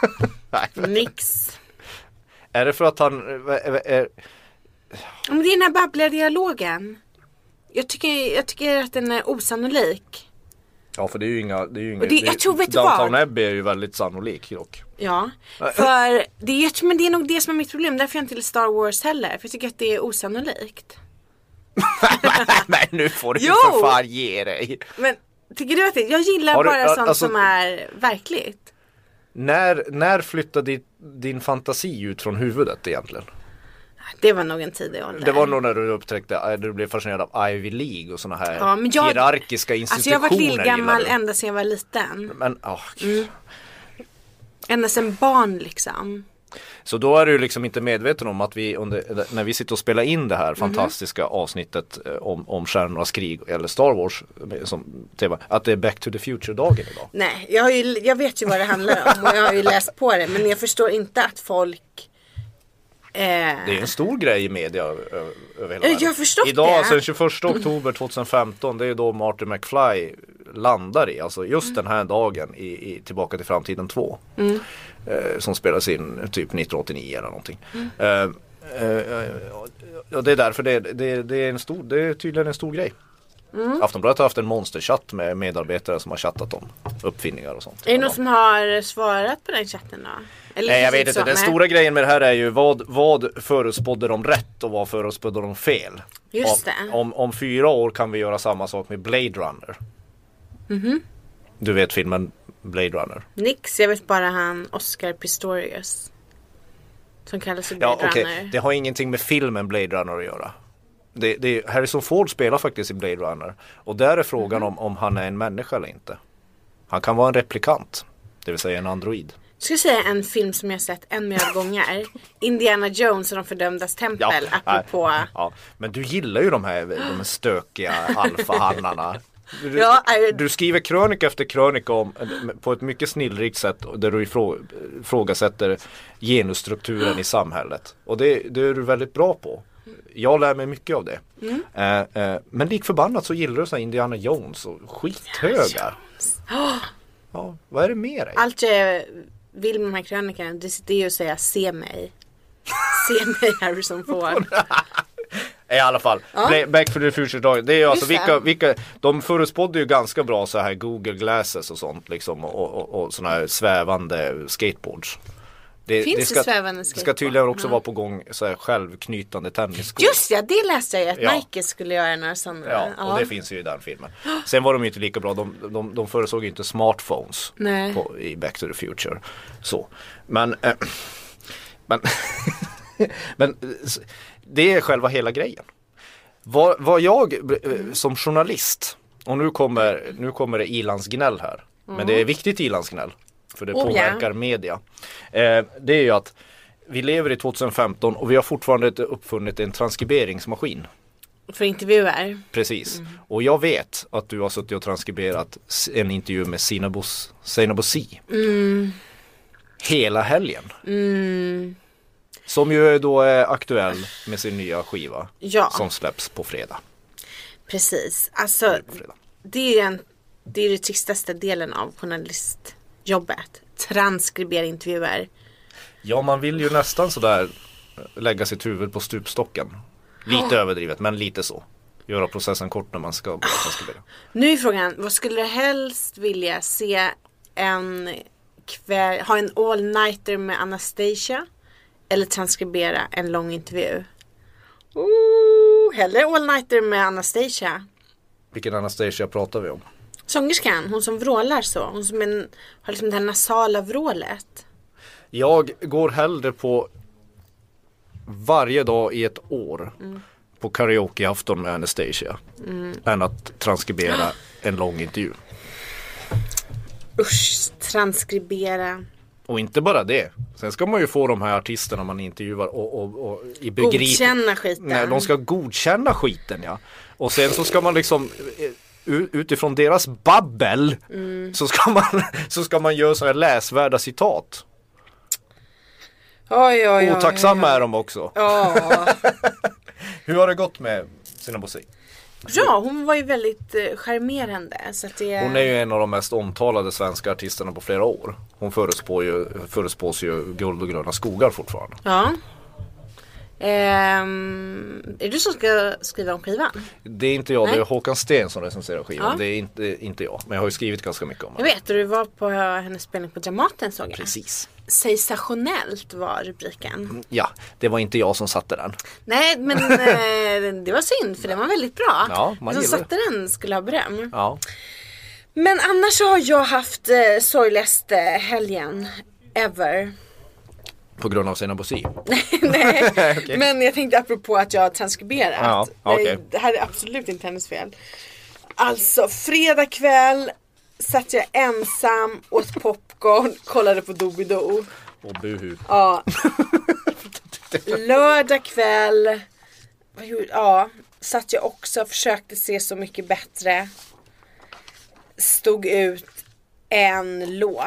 [LAUGHS] Nej.
nix.
Är det för att han, är, är,
Men det är den här babbliga dialogen. Jag tycker, jag tycker att den är osannolik.
ja för det är ju inga, det är ju inga,
Och det- jag tror, vet du vad?
Downton Abbey är ju väldigt sannolik dock.
Ja, för det är, jag tror- men det är nog det som är mitt problem. Därför jag inte gillar Star Wars heller. För jag tycker att det är osannolikt.
[LAUGHS] Nej nu får du
Jo!
för fan ge dig.
Men tycker du att det, jag gillar
Har du-
bara sånt
alltså-
som är verkligt.
När, när flyttade din, din fantasi ut från huvudet egentligen?
Det var nog en tidig ålder.
Det var nog när du upptäckte, eh, du blev fascinerad av Ivy League och sådana här
Ja, men jag-
hierarkiska
Alltså
institutioner.
jag har varit
gillar
lillgammal Mm.
du.
ända sedan jag var liten.
Men, ah,
Ända sedan barn liksom.
Så då är du ju liksom inte medveten om att vi under, eh, när vi sitter och spelar in det
Mhm.
här fantastiska avsnittet eh, om, om Stjärnornas krig eller Star Wars eh, som tema, att det är Back to the Future-dagen idag.
Nej, jag, har ju, jag vet ju vad det handlar om och jag har ju läst på det. Men jag förstår inte att folk... Eh,
Det är en stor grej i media ö- ö- över hela
Jag har förstått
Idag,
det.
sen 21 oktober 2015, det är ju då Martin McFly landar i, alltså just
Mm.
den här dagen i, i Tillbaka till framtiden 2. Eh, som spelas in typ 1989 eller någonting.
Mm.
Eh, eh, eh, och det är därför det, det, det, är en stor, det är tydligen en stor grej.
Mm.
Aftonbladet har haft en monsterchatt med medarbetare som har chattat om uppfinningar och sånt.
är det någon som har svarat på den chatten då? Eller
Nej jag
kanske
vet inte,
så,
den
nej.
stora grejen med det här är ju vad, vad förutspådde de rätt och vad förutspådde de fel?
Just
om,
det.
Om, om fyra år kan vi göra samma sak med Blade Runner.
Mhm.
Du vet filmen Blade Runner?
Nix, jag vet bara han Oscar Pistorius. Som kallas för
Ja
Blade
okej,
Runner.
det har ingenting med filmen Blade Runner att göra. Det, det, Harrison Ford spelar faktiskt i Blade Runner och där är frågan
Mhm.
om, om han är en människa eller inte. Han kan vara en replikant, det vill säga en android.
Jag ska säga en film som jag sett en miljard gånger. Indiana Jones och de fördömdas tempel.
nej.
apropå.
Ja, men du gillar ju de här, de här stökiga alfahannarna. Du,
[LAUGHS] Ja, eh, nej.
du skriver krönika efter krönika om, eh, på ett mycket snillrikt sätt där du ifrå- ifrågasätter genusstrukturen i samhället. Och det, det är du väldigt bra på. Jag lär mig mycket av det.
Mm.
Eh, eh, men lik förbannat så gillar du så här Indiana Jones och skithögar.
[GASPS]
Ja, vad är det med dig?
Allt jag vill med de här krönikorna det det är ju att säga se mig. Se mig Harrison
[LAUGHS]
Ford.
I alla fall, Bla- Back for the Future det är ju alltså
det.
vilka, vilka, de förutspådde ju ganska bra så här Google Glasses och sånt liksom och, och, och såna här svävande skateboards.
Finns det
ska,
svävande
det ska
skateboard?
tydligen också
Ja.
vara på gång så här självknytande tennisskor.
Just ja, det läste jag ju att
Ja.
Nike skulle göra några sådana.
Ja, och det finns ju i den filmen. Sen var de ju inte lika bra, de, de, de förutsåg ju inte smartphones
Nej.
på, i Back to the Future. Så, men, eh, men, [LAUGHS] men eh, s- det är själva hela grejen. Vad, vad jag eh, som journalist, och nu kommer, nu kommer det ilandsgnäll här, men det är viktigt ilandsgnäll, för det
Mm. Oh, ja.
påverkar media. Eh, det är ju att vi lever i 2015 och vi har fortfarande inte uppfunnit en transkriberingsmaskin.
För intervjuer.
Precis. Och jag vet att du har suttit och transkriberat s- en intervju med Sinabos, Sinabosi. Hela helgen. Som ju då är aktuell med sin nya skiva.
Ja.
Som släpps på fredag.
Precis. Alltså,
På fredag.
det är ju en, det är den tristaste delen av journalistjobbet. Transkribera intervjuer.
Ja man vill ju nästan sådär eh, lägga sitt huvud på stupstocken. Lite överdrivet men lite så. Göra processen kort när man ska börja transkribera.
Nu är frågan, vad skulle du helst vilja se en kväll, ha en all-nighter med Anastasia? Eller transkribera en lång intervju? Ooh, hellre all-nighter med Anastasia.
Vilken Anastasia pratar vi om?
Sångerskan, hon som vrålar så. Hon som en, har liksom det här nasala vrålet.
Jag går hellre på varje dag i ett år
Mm.
på karaokeafton med Anastasia än att transkribera en lång intervju.
Usch, transkribera.
Och inte bara det. Sen ska man ju få de här artisterna man intervjuar och, och, och i begrip...
Godkänna skiten.
Nej, de ska godkänna skiten ja. Och sen så ska man liksom eh, u- utifrån deras babbel
Mm.
så, ska man, [LAUGHS] så ska man göra så här läsvärda citat.
Oj, oj, oj, oj.
Otacksamma är de också.
Ja.
Hur har det gått med sina Bosi?
ja, hon var ju väldigt eh, charmerande. Så att det...
Hon är ju en av de mest omtalade svenska artisterna på flera år. Hon förespår ju, förespås ju guld och gröna skogar fortfarande.
Ja. Ehm, är det du som ska skriva om skivan?
Det är inte jag, det
Nej.
är Håkan Sten som recenserar skivan.
Ja.
Det är inte, inte jag, men jag har ju skrivit ganska mycket om
Jag
henne.
vet, och du var på hennes spelning på Dramaten såg jag.
Precis. Mm.
Sensationellt var rubriken.
Ja, det var inte jag som satte den.
Nej,
[LAUGHS]
men eh, det var synd för den var väldigt bra.
Ja, man
Den som
gillar
satte den skulle ha beröm.
Ja.
Men annars så har jag haft eh, sorgligaste helgen ever.
På grund av sina Bosi.
Nej, men jag tänkte apropå att jag har transkriberat.
Ja, okej.
Nej, det här är absolut inte hennes fel. Alltså, fredag kväll satt jag ensam, åt popcorn, [LAUGHS] kollade på Doobidoo.
Och buhu.
Ja. Lördag kväll, vad gjorde- ja, satt jag också, försökte se Så Mycket Bättre. Stod ut en låt.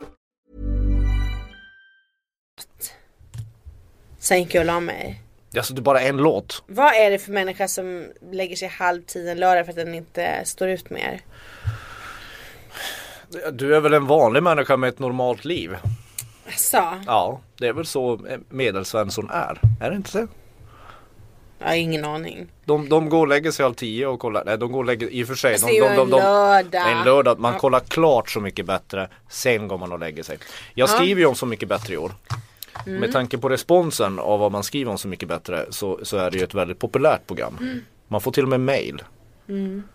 Sen gick jag och la mig.
Alltså det är bara en låt.
Vad är det för människa som lägger sig halv tio en lördag för att den inte står ut mer?
Du är väl en vanlig människa med ett normalt liv?
Asså?
Ja, det är väl så eh, Medelsvensson är. Är det inte så?
Jag har ingen aning.
De, de går och lägger sig halv tio och kollar, nej de går och lägger, i och för sig.
Fast
de,
Alltså, det är ju
de, de,
en
de,
lördag.
En lördag, man kollar klart så mycket bättre. Sen går man och lägger sig. Jag skriver ju om Så mycket bättre i år.
Mm.
Med tanke på responsen av vad man skriver om Så mycket bättre så, så är det ju ett väldigt populärt program.
Mm.
Man får till och med mail.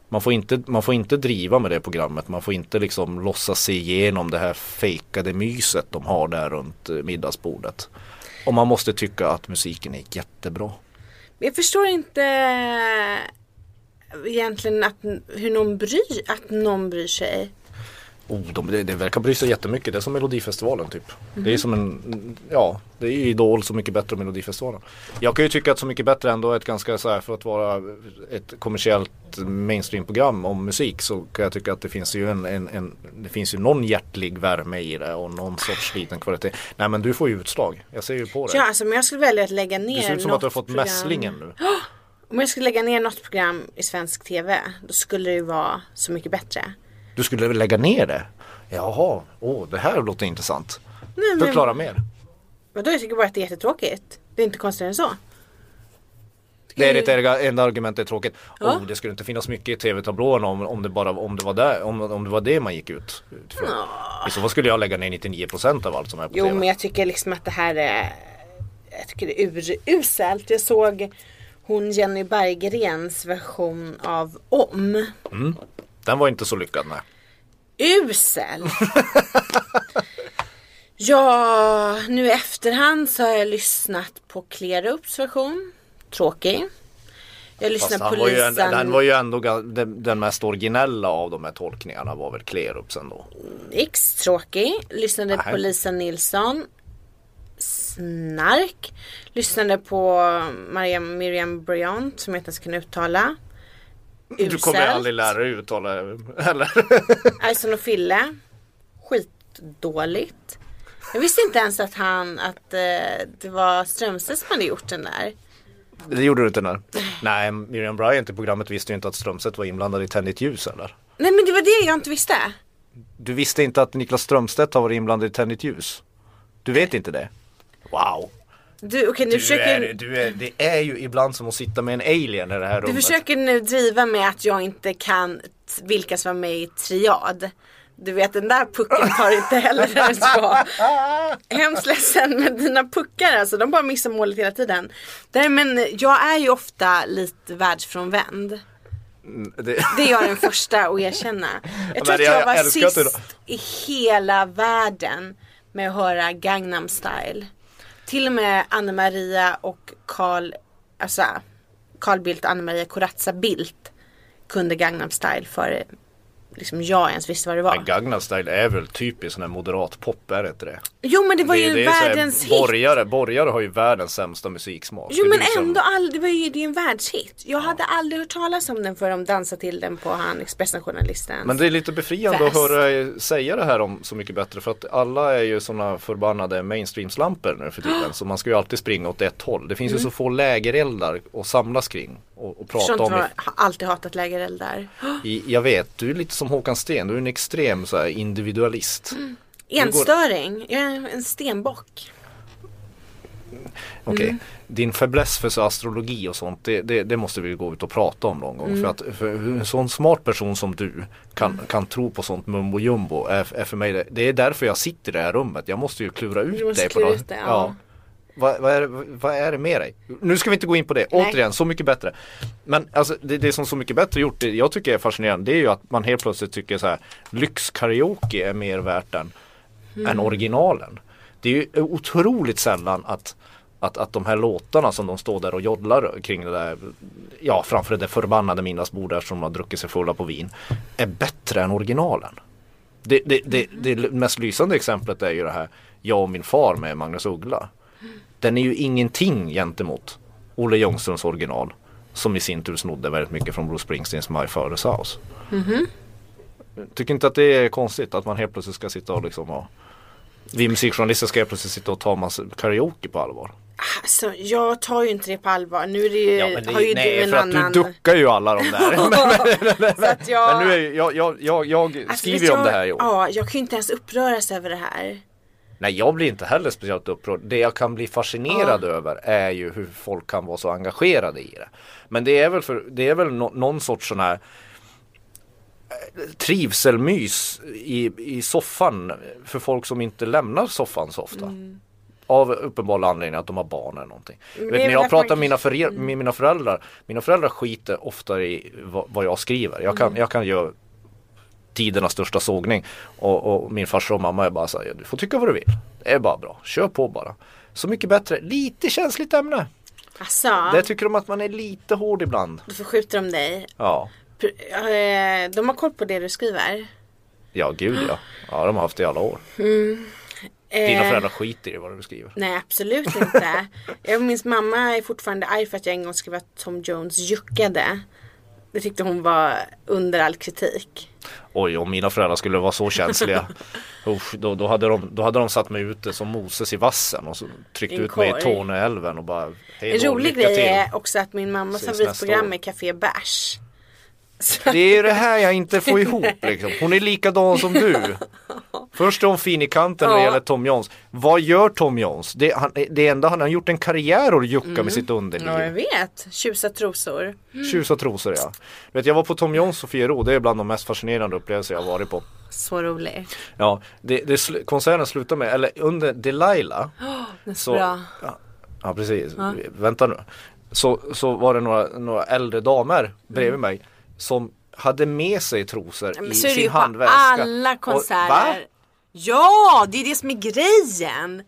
Man, får inte, man får inte driva med det programmet. Man får inte liksom låtsas sig igenom det här fejkade myset de har där runt eh, middagsbordet. Och man måste tycka att musiken är jättebra.
Men jag förstår inte eh, egentligen att, hur någon bryr, att någon bryr sig.
Oh, de, det, det verkar bry sig jättemycket. Det är som Melodifestivalen typ. Det är som en, ja, det är ju Idol Så Mycket Bättre än Melodifestivalen. Jag kan ju tycka att Så Mycket Bättre ändå är ett ganska så här, för att vara ett kommersiellt mainstreamprogram om musik så kan jag tycka att det finns ju en, en, en det finns ju någon hjärtlig värme i det och någon sorts liten kvalitet. Nej men du får ju utslag. Jag ser ju på dig.
Ja, alltså, men jag skulle välja att lägga ner
Det ser ut som
något
att du har fått
program.
mässlingen nu.
Om jag skulle lägga ner något program i svensk TV, då skulle det ju vara Så mycket bättre.
Du skulle väl lägga ner det? Jaha, åh det här låter intressant.
men-
Förklara mer.
Vadå, jag tycker bara att det är jättetråkigt. Det är inte konstigt än så.
Det är ditt erga- enda argument är tråkigt. Oh, det skulle inte finnas mycket i tv-tablån om, om, det, bara, om, det var där, om, om det var det man gick ut för. I så fall skulle jag lägga ner 99% av allt som är på
Jo,
tv.
men jag tycker liksom att det här är, jag tycker det är uruselt. Jag såg hon Jenny Berggrens version av Om.
Den var inte så lyckad nej.
usel. [LAUGHS] ja, nu i efterhand så har jag lyssnat på Klerups version. Tråkig. Jag
Fast
lyssnar på
han var ju, en,
Lisan.
den var ju ändå ga- den, den mest originella av de här tolkningarna var väl Klerups ändå.
X, tråkig. Lyssnade
Nej.
på Lisa Nilsson. Snark. Lyssnade på Maria, Miriam Bryant som jag inte ens kan uttala.
Du kommer
Uselt.
aldrig lära dig uttala eller? [LAUGHS]
Ison och Fille. Skitdåligt. Jag visste inte ens att han, att eh, det var Strömstedt som hade gjort den där.
Det gjorde du inte
[LAUGHS]
när. Nej, Miriam Bryant i programmet visste ju inte att Strömstedt var inblandad i Tänd ditt ljus eller?
Nej men det var det jag inte visste.
Du visste inte att Niklas Strömstedt har varit inblandad i Tänd ditt ljus? Du vet inte det? Wow!
Du, okej, du,
Du
försöker,
är, du är, det är ju ibland som att sitta med en alien i det här
du
rummet.
försöker nu driva med att jag inte kan t- vilka som var med i Triad. Du vet den där pucken tar inte heller
[LAUGHS]
där den ska. Hemskt ledsen men dina puckar alltså, de bara missar målet hela tiden. Nej men jag är ju ofta lite världsfrånvänd.
Det,
Det är jag den första att erkänna. Jag tror
men
att
jag
jag var
älskar att du-
sist i hela världen med att höra Gangnam style. Till och med Anna Maria och Carl, alltså Carl Bildt och Anna Maria Corazza Bildt kunde Gangnam style före liksom jag ens visste vad det var.
men Gangnam style är väl typiskt sån här moderat pop, är det inte det?
Jo men det var ju
så här,
världens hit.
borgare, borgare har ju världens sämsta musiksmak.
Jo
Det är
men
liksom-
ändå, all, det var ju det är en världshit. Jag hade aldrig hört talas om den förrän de dansade till den på han Expressen-journalisten.
Men det är lite befriande
Fest.
att höra er säga det här om Så mycket bättre för att alla är ju sådana förbannade mainstream-slampor nu för tiden så man ska ju alltid springa åt ett håll. Det finns
Mm.
ju så få lägereldar att samlas kring och, och
Förstår
prata
inte
om i
vad- har alltid hatat lägereldar.
I, jag vet, du är lite som Håkan Sten, du är en extrem så här, individualist.
Mm. Enstöring, jag är en stenbock.
Okej,
Mm.
din fäbless för så astrologi och sånt, det, det, det måste vi gå ut och prata om någon gång.
Mm.
För att för en sån smart person som du kan, kan tro på sånt mumbo jumbo. Är, är för mig det, det är därför jag sitter i det här rummet, jag måste ju klura ut
Du måste
dig.
klura
något-
ut det, ja.
Vad, vad, är, det- vad är det med dig? Nu ska vi inte gå in på det,
Nej.
återigen, Så mycket bättre. Men alltså det, det som Så mycket bättre gjort, det jag tycker är fascinerande, det är ju att man helt plötsligt tycker så här, lyxkaraoke är mer värt än, än originalen. Det är ju otroligt sällan att, att, att de här låtarna som de står där och joddlar kring det där, ja framför det där förbannade middagsbordet som de har druckit sig fulla på vin, är bättre än originalen. Det, det, det, det mest lysande exemplet är ju det här Jag och min far med Magnus Uggla. Den är ju ingenting gentemot Olle Ljungströms original som i sin tur snodde väldigt mycket från Bruce Springsteens My Father's House.
Mm-hmm.
Tycker inte att det är konstigt att man helt plötsligt ska sitta och liksom och, vi musikjournalister ska helt plötsligt sitta och ta massa karaoke på allvar.
Alltså jag tar ju inte det på allvar. Nu är det ju, har ju du en
för att
annan.
du duckar ju alla de
[LAUGHS]
där. men,
så [LAUGHS] att jag,
men nu är ju, jag, jag, jag, jag
alltså,
skriver
vet
ju om
jag-
det här i år.
Ja, jag kan ju inte ens uppröras över det här.
Nej jag blir inte heller speciellt upprörd. Det jag kan bli fascinerad över är ju hur folk kan vara så engagerade i det. Men det är väl, för, det är väl nå- någon sorts sån här eh, trivselmys i, i soffan för folk som inte lämnar soffan så ofta. Av uppenbar anledning att de har barn eller någonting. Vet,
Mm, det är
när
väl
jag
därför
pratar med
man Mm.
mina, före- med mina föräldrar, mina föräldrar skiter ofta i vad, vad jag skriver. Jag
Mm.
kan, jag kan göra tidernas största sågning. Och, och min farsa och mamma är bara såhär, du får tycka vad du vill. Det är bara bra, kör på bara. Så mycket bättre, lite känsligt ämne.
Alltså,
Där tycker de att man är lite hård ibland.
då förskjuter de dig.
Ja,
Pr- eh, De har koll på det du skriver.
ja gud ja. Ja, de har haft det i alla år. Dina
Eh,
föräldrar skiter i vad du skriver.
Nej
[LAUGHS]
absolut inte. Jag minns mamma är fortfarande arg för att jag en gång skrev att Tom Jones juckade. Det tyckte hon var under all kritik.
Oj, om mina föräldrar skulle vara så
[LAUGHS]
känsliga. Usch, då, då, hade de, då hade de satt mig ute som Moses i vassen och så tryckt
I en
ut mig i
korg.
Torneälven och bara hej
En
då,
rolig
lycka
grej
till.
är också att min mammas
Ses
favoritprogram
nästa år.
är Café Bärs.
Det är ju det här jag inte får ihop liksom. Hon är likadan som
[LAUGHS]
du. Först är hon fin i kanten när det
Ja.
gäller Tom Jones. Vad gör Tom Jones? Det, han, det enda han har gjort en karriär och jucka med sitt
Mm. Ja Mm. jag
underliv.
vet. Tjusa trosor.
Tjus och trosor ja. Du vet, jag var på Tom Jones Sofiero. Det är bland de mest fascinerande upplevelser jag har varit på.
Så rolig.
Ja, det, det, sl- konserten slutar med, eller under Delilah så,
bra.
Ja, ja precis, V- vänta nu. Så, så var det några, några äldre damer bredvid mig som hade med sig trosor
Mm. Men
i
så är det
sin
ju på
handväska.
alla
Och, va?
konserter. ja det är det som är grejen.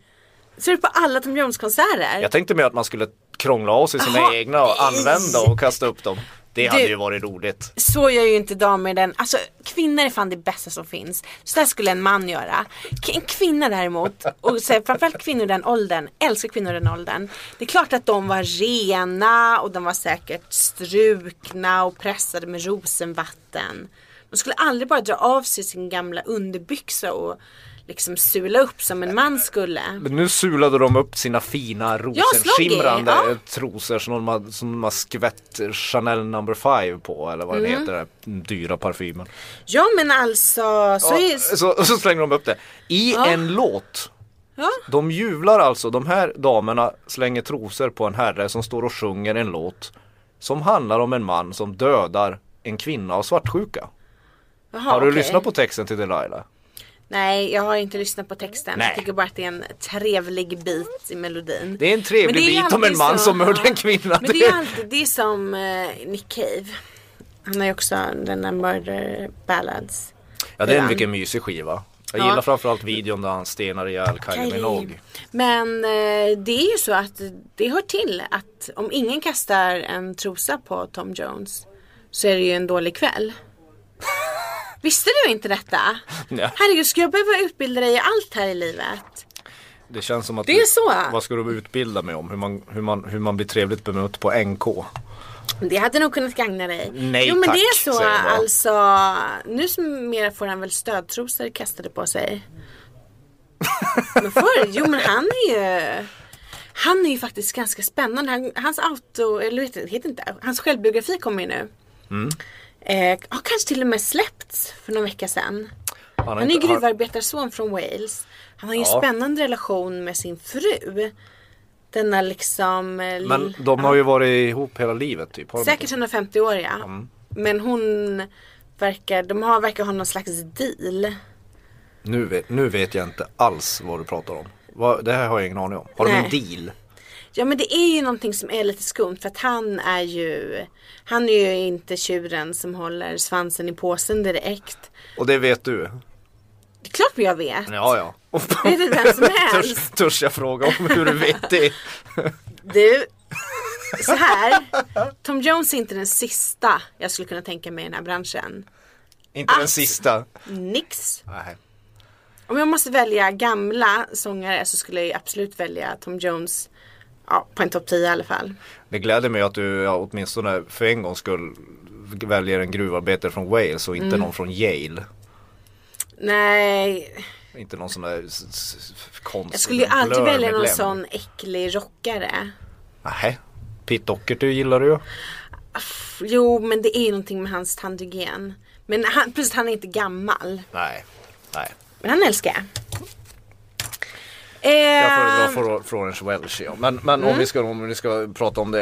Så är det på alla Tom Jones konserter.
Jag tänkte mer att man skulle krångla av sig sina
Jaha,
egna och använda och kasta upp dem. Det hade
Du-
ju varit roligt.
Så gör ju inte damer den, alltså kvinnor är fan det bästa som finns. Så där skulle en man göra. K- En kvinna däremot, och så här, framförallt kvinnor i den åldern, älskar kvinnor i den åldern. Det är klart att de var rena och de var säkert strukna och pressade med rosenvatten. De skulle aldrig bara dra av sig sin gamla underbyxa och liksom sula upp som en man skulle.
Men nu sulade de upp sina fina rosenskimrande
sloggy, ja.
trosor som de, har- som de har skvätt Chanel number five på eller vad den
Mm.
heter, den här dyra parfymen.
Ja men alltså, så är
Ja, så, så slänger de upp det. I en låt.
Ja.
De jublar alltså, de här damerna slänger trosor på en herre som står och sjunger en låt som handlar om en man som dödar en kvinna av svartsjuka.
Jaha,
Har du
okej.
lyssnat på texten till Delilah?
Nej, jag har inte lyssnat på texten.
Nej.
Jag tycker bara att det är en trevlig bit i melodin.
Det är en trevlig
Men det är
bit om
alltid
en man
så-
som mördar
ja.
en kvinna.
Men det är alltid det är som eh, Nick Cave. Han har ju också den där Murder Ballads.
ja, det är en vilken mysig skiva. Jag
Ja.
gillar framförallt videon där han stenar ihjäl Kylie Minogue.
Men eh, det är ju så att det hör till att om ingen kastar en trosa på Tom Jones så är det ju en dålig kväll. Visste du inte detta?
Nej.
Herregud, ska jag behöva utbilda dig i allt här i livet?
Det känns som att
Det är så.
Vad ska du utbilda mig om? Hur man, hur man, hur man blir trevligt bemött på NK?
Det hade nog kunnat gagna dig.
Nej,
jo men
tack,
det är så
säger jag bara.
alltså. Nu som mera får han väl stödtrosor kastade på sig. men förr, jo men han är ju. Han är ju faktiskt ganska spännande. Han, hans auto, eller vet, det heter inte, hans självbiografi kommer ju nu.
Mm.
Eh, har kanske till och med släppts för någon vecka sedan.
har
Han är ju
inte- har-
gruvarbetarson från Wales. Han har ju en
Ja.
spännande relation med sin fru. Denna liksom... eh,
Men
lill-
de har ju varit ihop hela livet typ. Har de
Säkert 150 år ja.
Mm.
Men hon verkar, de har, verkar ha någon slags deal.
Nu vet, nu vet jag inte alls vad du pratar om. Vad- det här har jag ingen aning om. Har de en
Nej.
deal?
Ja men det är ju någonting som är lite skumt för att han är ju Han är ju inte tjuren som håller svansen i påsen direkt.
Och det vet du?
Det är klart jag vet.
Ja, ja.
Vet du
[LAUGHS]
vem som helst?
Törs, törs jag fråga om hur du vet det?
Du, så här. Tom Jones är inte den sista jag skulle kunna tänka mig i den här branschen.
Inte den sista.
Nix.
Nej.
Om jag måste välja gamla sångare så skulle jag ju absolut välja Tom Jones. Ja, på en topp 10 i alla fall.
Det gläder mig att du ja, åtminstone för en gångs skull väljer en gruvarbetare från Wales och inte
Mm.
någon från Yale.
Nej,
Inte någon sån där s- s- s- konstig
jag skulle ju aldrig välja någon
blörmedlem.
sån äcklig rockare.
Nej. Pete Doherty gillar du ju.
Pff, Jo, men det är ju någonting med hans tandhygien. Men han, precis, han är inte gammal.
Nej. Nej.
Men han älskar jag.
Jag föredrar
Eh,
Flor- Florence Welch. Ja. Men, men
Mm.
om, vi ska, om vi ska prata om det.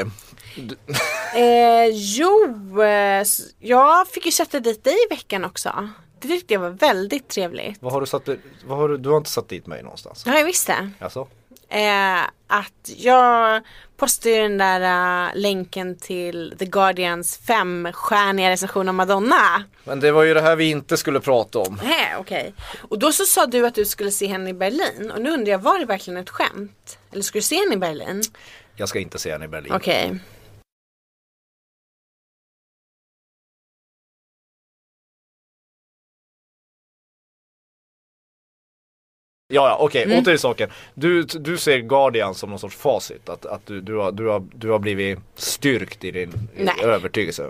[LAUGHS] eh, jo, eh, s- jag fick ju sätta dit dig i veckan också. Det tyckte jag var väldigt trevligt.
Vad har du satt, vad har du, du har inte satt dit mig någonstans?
Ja, jag visste.
Alltså?
Eh, att jag postade ju den där eh, länken till The Guardians femstjärniga recension av Madonna.
Men det var ju det här vi inte skulle prata om.
Nej, okej. Och då så sa du att du skulle se henne i Berlin och nu undrar jag var det verkligen ett skämt? Eller skulle du se henne i Berlin?
Jag ska inte se henne i Berlin.
Okej.
Ja, ja okej,
Mm.
åter till saken. Du, du ser Guardian som någon sorts facit, att, att du, du, har, du, har, du har blivit styrkt i din i
Nej.
övertygelse.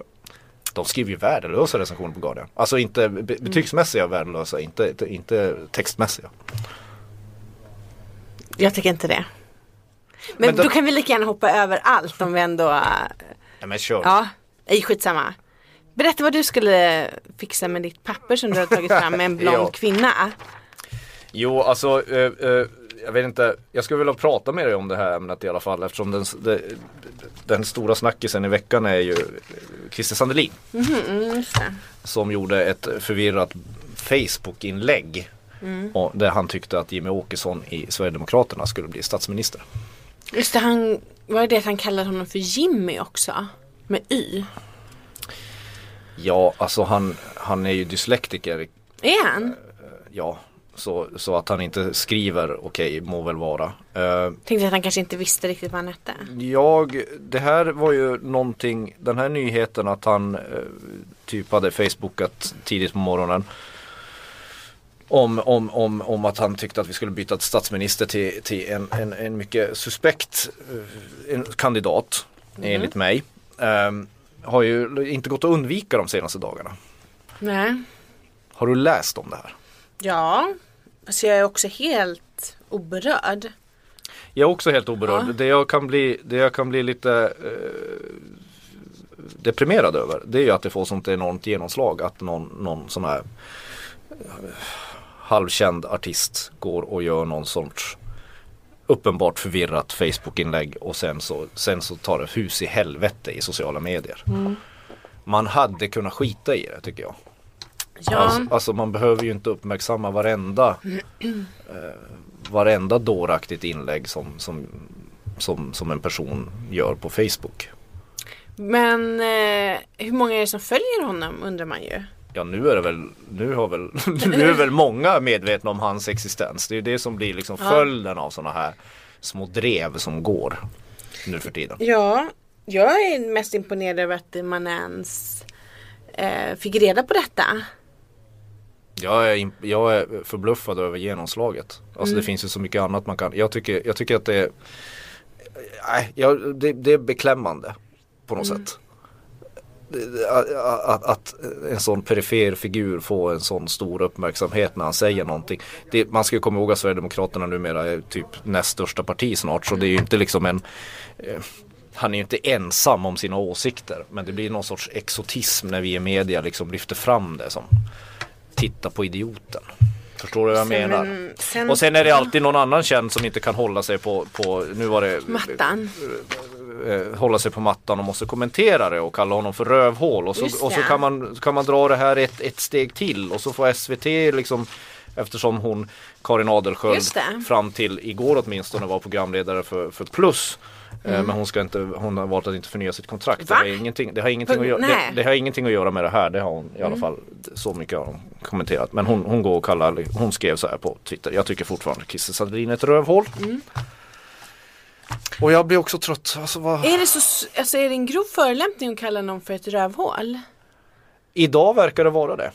De skriver ju värdelösa recensioner på Guardian. Alltså inte be,
Mm.
betygsmässiga värdelösa, inte, inte, inte textmässiga.
Jag tycker inte det. Men,
Men då-
då kan vi lika gärna hoppa över allt om vi ändå, eh,
Nej men kör.
ja, nej skitsamma. Berätta vad du skulle fixa med ditt papper som du har tagit fram [LAUGHS] med en blond
Ja.
kvinna.
Jo, alltså eh, eh, jag vet inte. Jag skulle vilja prata med dig om det här ämnet i alla fall eftersom den, den, den stora snackisen i veckan är ju eh, Christer Sandelin.
Mm,
Som gjorde ett förvirrat Facebook-inlägg. Och där han tyckte att Jimmy Åkesson i Sverigedemokraterna skulle bli statsminister.
Just det, han, var det det att han kallade honom för Jimmy också? Med Y.
Ja, alltså han, han är ju dyslektiker.
Är han?
Ja, så, så att han inte skriver okej må väl vara. Eh,
Tänkte att han kanske inte visste riktigt vad han hette.
Jag, det här var ju någonting, den här nyheten att han eh, typ hade facebookat tidigt på morgonen. Om, om, om, om att han tyckte att vi skulle byta statsminister till, till en, en, en mycket suspekt eh, en kandidat enligt mig. Ehm, har ju inte gått att undvika de senaste dagarna.
Nej.
Har du läst om det här?
Ja. Fast jag är också helt oberörd.
Jag är också helt oberörd.
Ja.
Det, jag kan bli, det jag kan bli lite eh, deprimerad över det är ju att det får sånt enormt genomslag att någon, någon sån här eh, halvkänd artist går och gör någon sorts uppenbart förvirrat Facebook-inlägg och sen så, sen så tar det hus i helvete i sociala medier. Man hade kunnat skita i det tycker jag.
Ja.
Alltså, alltså man behöver ju inte uppmärksamma varenda eh, varenda dåraktigt inlägg som, som, som, som en person gör på Facebook.
Men eh, hur många är det som följer honom undrar man ju.
Ja nu är det väl, nu har väl, [LAUGHS] nu är väl många medvetna om hans existens. Det är ju det som blir liksom följden av sådana här små drev som går nu för tiden.
Ja. Jag är mest imponerad över att man ens eh, fick reda på detta.
Jag är, imp- jag är förbluffad över genomslaget. Alltså det finns ju så mycket annat man kan. Jag tycker, jag tycker att det är, nej, jag, det, det är beklämmande på något
Mm.
sätt. Det- det- Att, att, att en sån perifer figur får en sån stor uppmärksamhet när han säger någonting. Det, man ska ju komma ihåg att Sverigedemokraterna numera är typ näst största parti snart så det är ju inte liksom en eh, han är ju inte ensam om sina åsikter men det blir någon sorts exotism när vi i media liksom lyfter fram det som titta på idioten. Förstår du vad jag
Sen-
menar?
sen-
och sen är det alltid någon annan känd som inte kan hålla sig på, på nu var det
Mattan.
eh, hålla sig på mattan och måste kommentera det och kalla honom för rövhål. Och
Just
så, och så
det.
kan, man, så kan man dra det här ett, ett steg till och så får SVT liksom Eftersom hon, Karin Adelsköld,
Just det.
fram till igår åtminstone var programledare för, för Plus. Eh, Men hon, ska inte, hon har valt att inte förnya sitt kontrakt. Det
Mm. Va?
har, ingenting, det, har ingenting att göra, det,
Nej. Mm.
det har ingenting att göra med det här. Det har hon i alla fall, så mycket har hon kommenterat. Men hon, hon går och kallar, hon skrev så här på Twitter. Jag tycker fortfarande Christer Sandelin är ett rövhål.
Mm.
Och jag blir också trött. Alltså, vad...
Är det, så, s- alltså, är det en grov förolämpning att kalla någon för ett rövhål?
Idag verkar det vara det.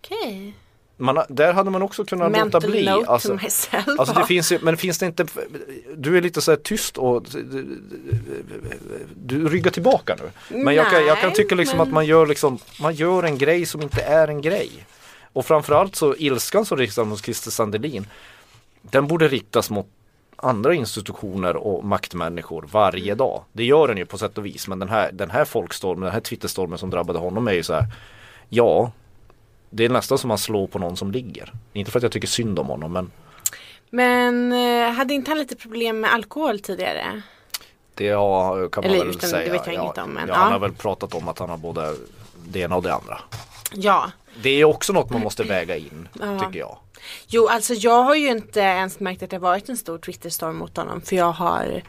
Okej.
Man, har- där hade man också kunnat låta
Mental
bli.
note
Alltså,
to myself.
alltså det finns ju, men finns det inte, du är lite så här tyst och du ryggar tillbaka nu. Men jag kan, jag kan
Nej,
tycka liksom
men-
att man gör, liksom, man gör en grej som inte är en grej. Och framförallt så ilskan som riktas mot Christer Sandelin, den borde riktas mot andra institutioner och maktmänniskor varje dag. Det gör den ju på sätt och vis men den här, den här folkstormen, den här twitterstormen som drabbade honom är ju så här Ja, det är nästan som man slår på någon som ligger. Inte för att jag tycker synd om honom men
Men eh, hade inte han lite problem med alkohol tidigare?
Det har, kan man
Eller
väl
utan- det
säga.
vet jag inget om, men
ja,
ja.
Han har väl pratat om att han har både det ena och det andra.
Ja.
Det är också något man måste väga in, tycker jag.
Jo, alltså jag har ju inte ens märkt att det har varit en stor Twitterstorm mot honom för jag har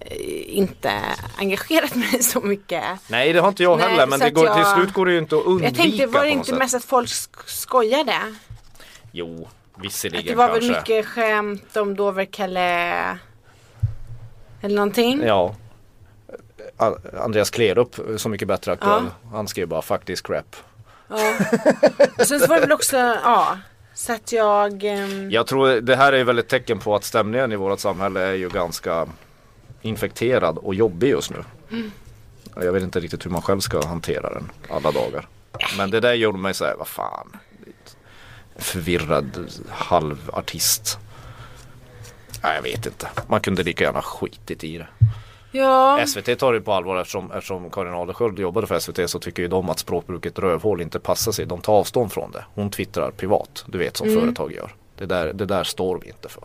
eh, inte engagerat [LAUGHS] mig så mycket.
Nej, det har inte jag
Nej,
heller, men
så
det
att
går,
jag-
till slut går det ju inte att undvika
Jag tänkte var det
på något
inte
sätt.
mest att folk sk- skojade?
Jo,
Att
visserligen
det var
kanske.
väl mycket skämt om Dover-Kalle eller någonting?
Ja. A- Andreas Klerup, Så mycket bättre aktuell. Han skrev bara fuck this crap.
Och sen så var det väl också, ja. Så att jag, ehm,
Jag tror det här är väl ett tecken på att stämningen i vårt samhälle är ju ganska infekterad och jobbig just nu. Jag vet inte riktigt hur man själv ska hantera den alla dagar. Men det där gjorde mig såhär, vad fan. Förvirrad halvartist. Nej, jag vet inte. Man kunde lika gärna skitit i det.
ja.
SVT tar det på allvar eftersom, eftersom Karin Adelsköld jobbade för SVT så tycker ju de att språkbruket rövhål inte passar sig. De tar avstånd från det. Hon twittrar privat, du vet som
Mm.
företag gör. Det där, det där står vi inte för.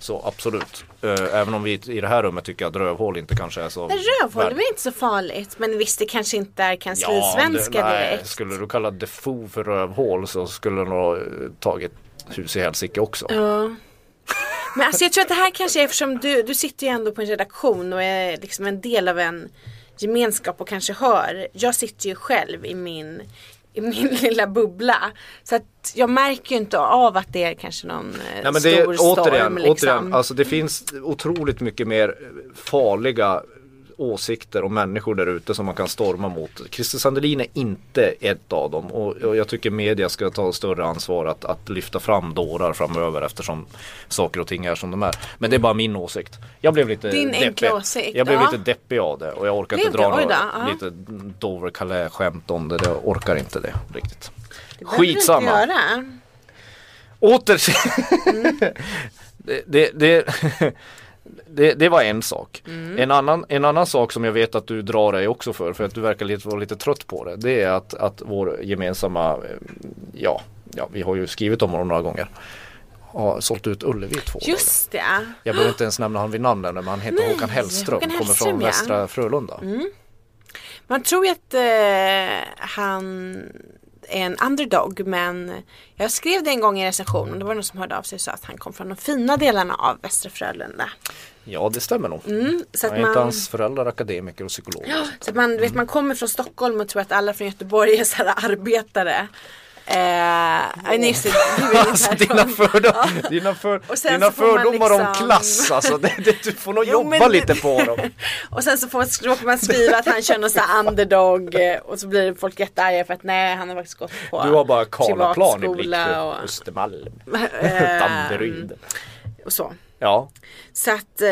Så absolut, Eh, även om vi i- i det här rummet tycker att rövhål inte kanske är så...
Men Rövhål är
värd-
väl inte så farligt? Men visst det kanske inte är kanslisvenska
det- nej,
direkt?
Skulle du kalla Defoe för rövhål så skulle du nog eh, tagit hus i helsike också.
Men alltså jag tror att det här kanske är eftersom du, du sitter ju ändå på en redaktion och är liksom en del av en gemenskap och kanske hör. Jag sitter ju själv i min, i min [LAUGHS] lilla bubbla. Så att jag märker ju inte av att det är kanske någon eh,
Nej, men
stor
det är,
storm.
återigen,
liksom.
återigen alltså det finns otroligt mycket mer farliga åsikter och människor där ute som man kan storma mot. Christer Sandelin är inte ett av dem och, och jag tycker media ska ta större ansvar att, att lyfta fram dårar framöver eftersom saker och ting är som de är. Men det är bara min åsikt. Jag blev lite
Din enkla
deppig.
åsikt,
Jag blev
ja.
lite deppig av det och jag orkar
Blev
inte
du?
dra
Oj då,
några
ja.
lite Dover-Calais-skämt om det. Jag orkar inte det riktigt.
Det behöver du inte
Skitsamma.
göra.
Åter... [LAUGHS] det, det, det, [LAUGHS] det, det var en sak.
Mm.
En, annan, en annan sak som jag vet att du drar dig också för, för att du verkar lite, vara lite trött på det. Det är att, att vår gemensamma, eh, ja, ja, vi har ju skrivit om honom några gånger, har sålt ut Ullevi i två dagar.
Just det.
Jag behöver inte ens nämna honom vid namn ännu, men han heter
Nej,
Håkan Hellström,
Håkan
kommer
Hellström,
från
ja. Mm.
Västra Frölunda.
Man tror ju att eh, han är en underdog men jag skrev det en gång i en recension och det var någon som hörde av sig och sa att han kom från de fina delarna av Västra Frölunda.
Ja, det stämmer nog.
Mm. Så att
är inte
man,
hans föräldrar akademiker och psykologer? och sånt?
så att man, du vet, man kommer från Stockholm och tror att alla från Göteborg är så här arbetare. Eh, nej, just det, du är
Alltså
tvärtom.
dina, fördom, dina, för,
Och sen
dina
så får man
fördomar om
liksom-
klass alltså, det, det, du får nog
Jo,
jobba
men-
lite på dem.
[LAUGHS] Och sen så får man, råkar man skriva att han kör någon sån här underdog eh, och så blir folk jättearga för att nej han har faktiskt gått på
Du har bara Karlaplan i blicken.
privatskola och, [LAUGHS]
Östermalm,
eh,
Danderyd.
och så.
Ja,
Så att eh,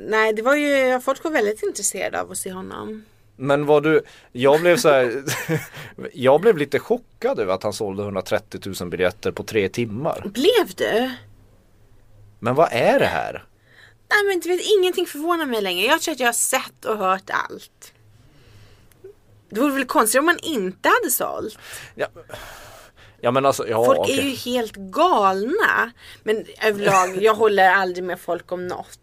nej det var ju, folk var väldigt intresserade av att se honom.
men vad du, jag blev så här, [LAUGHS] jag blev lite chockad över att han sålde 130 000 biljetter på tre timmar.
Blev du?
Men vad är det här?
Nej men du vet ingenting förvånar mig längre. Jag tror att jag har sett och hört allt. Det vore väl konstigt om man inte hade sålt.
Ja, ja men alltså, ja
Folk
okej.
är ju helt galna. Men överlag, jag håller aldrig med folk om något.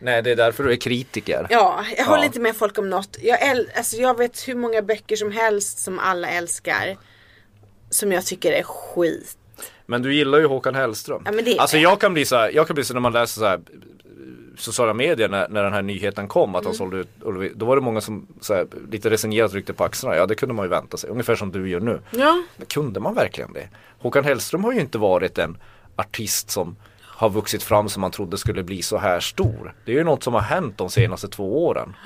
Nej det är därför du är kritiker.
Ja, jag håller
Ja.
inte med folk om något. Jag, äl- alltså, jag vet hur många böcker som helst som alla älskar. Som jag tycker är skit.
Men du gillar ju Håkan Hellström.
Ja, men det-
Alltså jag kan bli så här, jag kan bli så när man läser så här eh, sociala medier när, när den här nyheten kom att han
Mm.
sålde ut Ullevi. Då var det många som så här, lite resignerat ryckte på axlarna. Ja det kunde man ju vänta sig. Ungefär som du gör nu.
Ja.
Men kunde man verkligen det? Håkan Hellström har ju inte varit en artist som har vuxit fram som man trodde skulle bli så här stor. Det är ju något som har hänt de senaste två
[GASPS]
åren.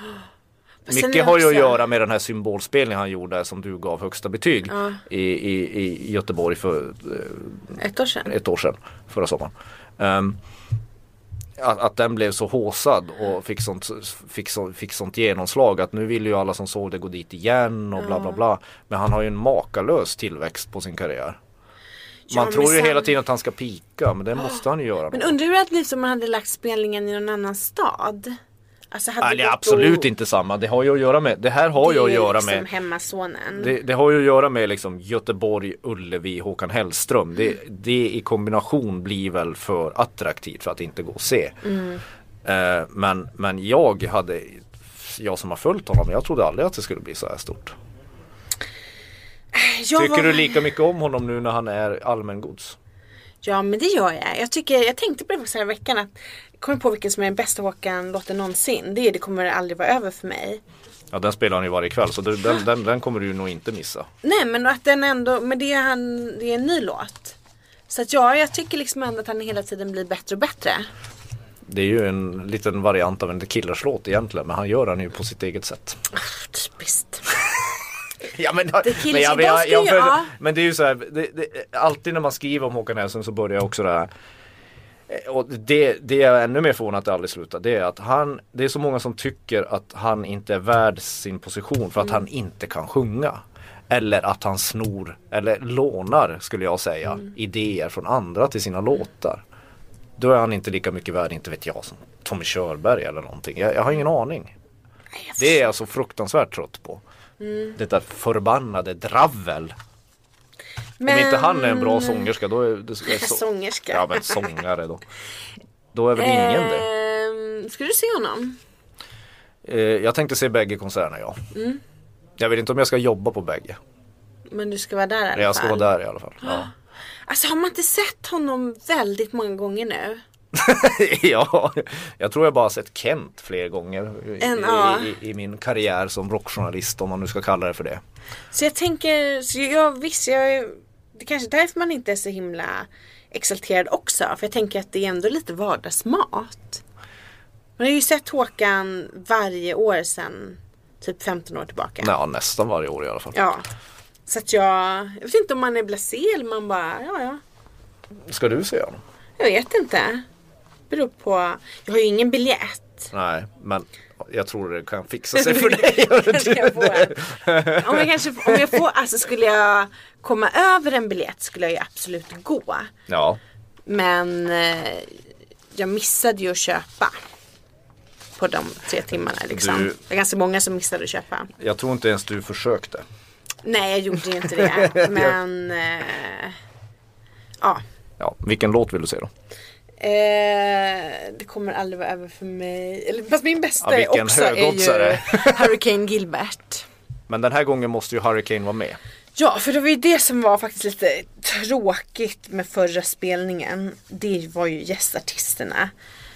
sen är
Mycket har ju att
också-
göra med den här symbolspelningen han gjorde som du gav högsta betyg i, i, i Göteborg för
Ett år sedan.
ett år sedan, förra sommaren. Ehm, att, att den blev så håsad och fick sånt, fick, så, fick sånt genomslag att nu vill ju alla som såg det gå dit igen och bla bla bla. Men han har ju en makalös tillväxt på sin karriär. Man
men
tror ju
sen-
hela tiden att han ska pika men det måste han ju göra.
Men
då.
undrar hur det hade blivit om man hade lagt spelningen i någon annan stad? Alltså, hade
Nej, det
gått
är
att-
absolut inte samma. Det har ju att göra med, det här har ju att
Det är
göra
liksom
med
hemmasonen.
det, det har ju att göra med liksom Göteborg, Ullevi, Håkan Hellström. Det, det i kombination blir väl för attraktivt för att inte gå och se. Eh, men, men jag hade, jag som har följt honom, jag trodde aldrig att det skulle bli så här stort.
jag
Tycker
var-
du lika mycket om honom nu när han är allmängods?
Ja men det gör jag. Jag, tycker, jag tänkte på det faktiskt den här veckan att jag kommer på vilken som är den bästa Håkan-låten någonsin. Det, är det kommer aldrig vara över för mig.
Ja den spelar han ju varje kväll så du- den, den, den kommer du nog inte missa.
Nej men att den ändå, men det är, han, det är en ny låt. Så att ja, jag tycker liksom ändå att han hela tiden blir bättre och bättre.
Det är ju en liten variant av en The Killers-låt egentligen men han gör den ju på sitt eget sätt.
Ah, Typiskt.
Ja, men,
Kills
men,
och Dolls ska ju- ja.
men det är ju så här, det, det, alltid när man skriver om Håkan Hellström så börjar jag också det här Eh, och det, det jag är ännu mer förvånad att det aldrig slutar det är att han, det är så många som tycker att han inte är värd sin position för att han inte kan sjunga. Eller att han snor, eller lånar skulle jag säga, idéer från andra till sina låtar. Då är han inte lika mycket värd, inte vet jag, som Tommy Körberg eller någonting. Jag, jag har ingen aning. Det är jag så fruktansvärt trött på.
Mm.
Det där förbannade dravel.
Men,
Om inte han är en bra sångerska då är det ska så...
Mm. Sångerska. Eh.
Ja men sångare då. Då är väl ingen det.
Ehm, Ska du se honom?
Eh, Jag tänkte se bägge konserterna ja.
Mm.
Jag vet inte om jag ska jobba på bägge.
Men du ska vara där i alla
Men jag ska
fall.
vara där i alla fall. Ja.
Alltså har man inte sett honom väldigt många gånger nu?
ja, [LAUGHS] jag tror jag bara har sett Kent fler gånger i,
En, ja.
i, i, i min karriär som rockjournalist om man nu ska kalla det för det.
Så jag tänker, så jag, visst jag är, Det kanske är därför man inte är så himla exalterad också. För jag tänker att det är ändå lite vardagsmat. Man har ju sett Håkan varje år sedan typ 15 år tillbaka.
Ja, nästan varje år i alla fall.
Ja. Så att jag, jag vet inte om man är blasé eller man bara, ja ja.
Ska du se honom?
Jag vet inte. Beror på, jag har ju ingen biljett.
Nej, men jag tror det kan fixa
[LAUGHS]
sig för dig.
Kanske jag får. Om jag, kanske, om jag får, alltså skulle jag komma över en biljett skulle jag ju absolut gå.
ja.
Men eh, jag missade ju att köpa. På de tre timmarna liksom.
Du-
Det är ganska många som missade att köpa.
Jag tror inte ens du försökte.
Nej jag gjorde ju [LAUGHS] inte det. men eh, ja.
Ja, vilken låt vill du se då?
Eh, det kommer aldrig vara över för mig. Eller, fast min
Ja,
bästa
vilken
också är ju
högoddsare.
[LAUGHS] Hurricane Gilbert.
Men den här gången måste ju Hurricane vara med.
Ja, för det var ju det som var faktiskt lite tråkigt med förra spelningen. Det var ju gästartisterna.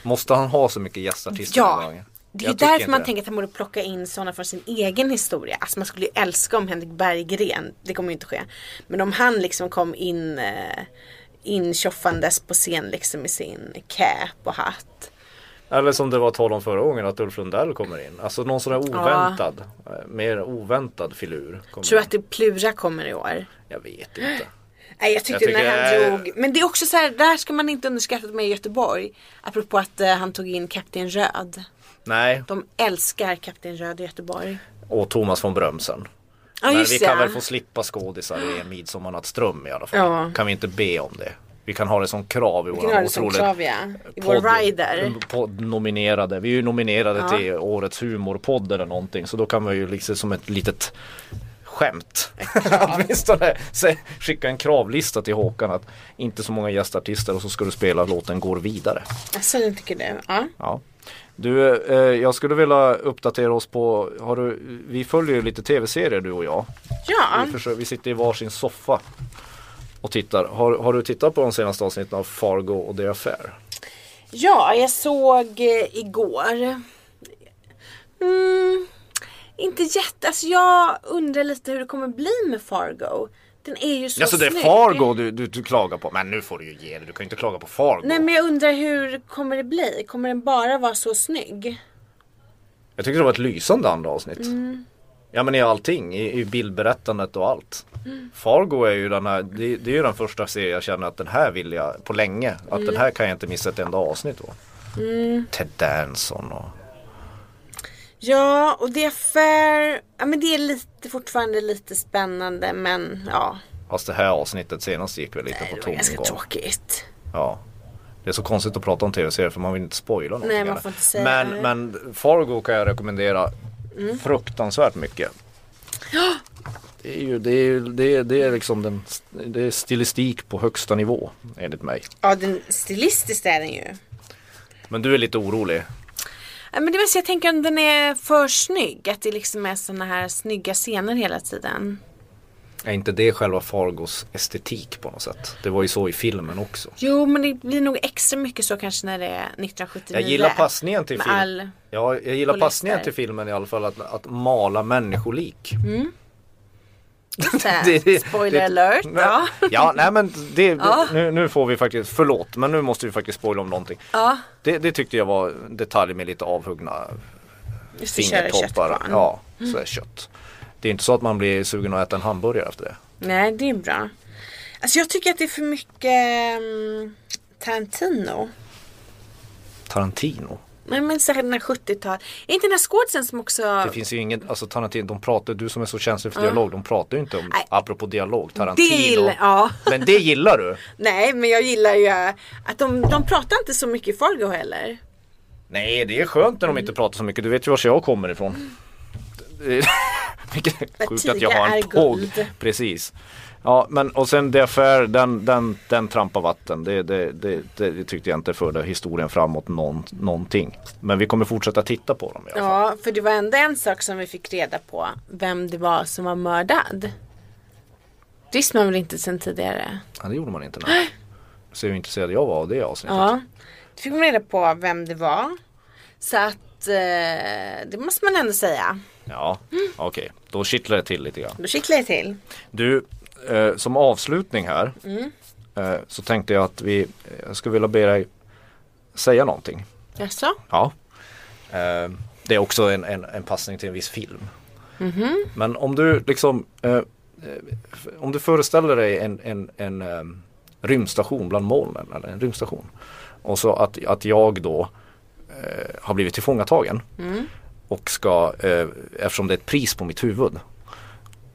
Måste han ha så mycket gästartister den här
Ja,
gången?
det är
Jag
ju
tycker
därför
inte
man
det.
tänker att han borde plocka in sådana från sin egen historia. Alltså man skulle ju älska om Henrik Berggren, det kommer ju inte ske. Men om han liksom kom in eh, intjoffandes på scen liksom i sin cap och hatt.
Eller som det var tal om förra gången att Ulf Lundell kommer in. Alltså någon sån här oväntad, eh, mer oväntad filur. kommer
Tror du
in.
att det Plura kommer i år?
Jag vet inte.
Nej jag tyckte
Jag tycker
när han
jag-
drog, men det är också så här, där ska man inte underskatta med Göteborg. Apropå att eh, han tog in Kapten Röd.
Nej,
De älskar Kapten Röd i Göteborg.
och Thomas von Brömsen.
Ja
Men
just
vi
det.
kan väl få slippa skådisar i en midsommarnattsdröm i alla fall.
Ja.
Kan vi inte be om det? Vi kan ha det som krav i
Vi kan ha
våran
det som
otroligt
krav ja. I vår rider.
Podd nominerade. Vi är ju nominerade till årets humorpodd eller någonting så då kan man ju liksom som ett litet skämt. [LAUGHS] Åtminstone se- skicka en kravlista till Håkan att inte så många gästartister och så ska du spela låten Går vidare.
Alltså den tycker du? Ja.
Ja. Du, eh, jag skulle vilja uppdatera oss på, har du, vi följer ju lite tv-serier du och jag.
Ja.
Vi, försöker, vi sitter i varsin soffa och tittar. Har, har du tittat på de senaste avsnitten av Fargo och The Affair?
Ja, jag såg eh, igår. Mm, inte jätte, alltså jag undrar lite hur det kommer bli med Fargo. Den är ju så
Alltså det är
snygg.
Fargo du, du, du klagar på. Men nu får du ju ge dig. Du kan ju inte klaga på Fargo.
Nej men jag undrar hur kommer det bli? Kommer den bara vara så snygg?
Jag tyckte det var ett lysande andra avsnitt.
Mm.
Ja men i allting, i, i bildberättandet och allt.
Mm.
Fargo är ju den här, det, det är ju den första serien jag känner att den här vill jag på länge. Att
Mm.
den här kan jag inte missa ett enda avsnitt av. Ted Danson och...
Ja, och det är fair. Ja men det är lite, fortfarande lite spännande men ja.
Fast det här avsnittet senast gick väl lite på
Det var ganska
tomgång.
tråkigt.
Ja. Det är så konstigt att prata om tv-serier för man vill inte spoila någonting.
man
eller?
får inte säga
men,
det. Mm.
men Fargo kan jag rekommendera fruktansvärt mycket. Det är ju, det är, ju- det är, det är liksom den, det är stilistik på högsta nivå enligt mig.
Ja, den, stilistiskt är den ju.
Men du är lite orolig.
Ja, Men det vill säga, jag tänker om den är för snygg. Att det liksom är såna här snygga scener hela tiden.
Är inte det själva Fargos estetik på något sätt? Det var ju så i filmen också.
Jo, men det blir nog extra mycket så kanske när det är 1979.
Jag gillar passningen till
Med
filmen. [LAUGHS]
all-
Ja, jag gillar
och
passningen
lyster.
till filmen i alla fall att, att mala människolik.
Så här,
Det- det-
[LAUGHS] Spoiler
det-
alert.
Nej,
Ja.
ja, nej men det, nu, nu får vi faktiskt, förlåt men nu måste vi faktiskt spoila om någonting.
Ja.
Det, det tyckte jag var en detalj med lite avhuggna
Just det, köra
fingertoppar.
köttkvarn.
Ja, sådär kött. Det är inte så att man blir sugen att äta en hamburgare efter det.
Nej, det är bra. Alltså jag tycker att det är för mycket mm, Tarantino.
Tarantino.
Nej men särskilt den här 70-talet. Är inte den här skådisen som också...
Det finns ju ingen, alltså Tarantino, de pratar, du som är så känslig för dialog, de pratar ju inte om,
Nej.
apropå dialog, Tarantino.
gillar- ja.
Men det gillar
[LAUGHS]
du?
Nej men jag gillar ju eh, att de, de pratar inte så mycket i Fargo heller.
Nej, det är skönt när de inte pratar så mycket, du vet ju var jag kommer ifrån. Det är- [LAUGHS] Vilket är
Att
sjukt att jag har
Mm. tiga
en
är
tåg.
guld.
Precis. Ja, men och sen The Affair, den, den, den trampar vatten. Det, det, det, det, det tyckte jag inte förde historien framåt någon, någonting. Men vi kommer fortsätta titta på dem i alla fall.
Ja för det var ändå en sak som vi fick reda på. Vem det var som var mördad. Det visste man väl inte sen tidigare?
Ja, det gjorde man inte.
[GASPS]
Nej. Så hur intresserad jag var av det avsnittet.
Ja. Då fick man reda på vem det var. Så att eh, det måste man ändå säga.
Ja, okej. Då kittlar det till lite grann.
Då kittlar det till.
Du, eh, som avslutning här eh, så tänkte jag att vi eh, jag skulle vilja be dig säga någonting.
Jaså?
Ja. Eh, det är också en, en, en passning till en viss film. Men om du liksom eh, eh, f- om du föreställer dig en, en, en eh, rymdstation bland molnen eller en rymdstation. Och så att, att jag då eh, har blivit tillfångatagen.
Mm.
Och ska, eh, eftersom det är ett pris på mitt huvud.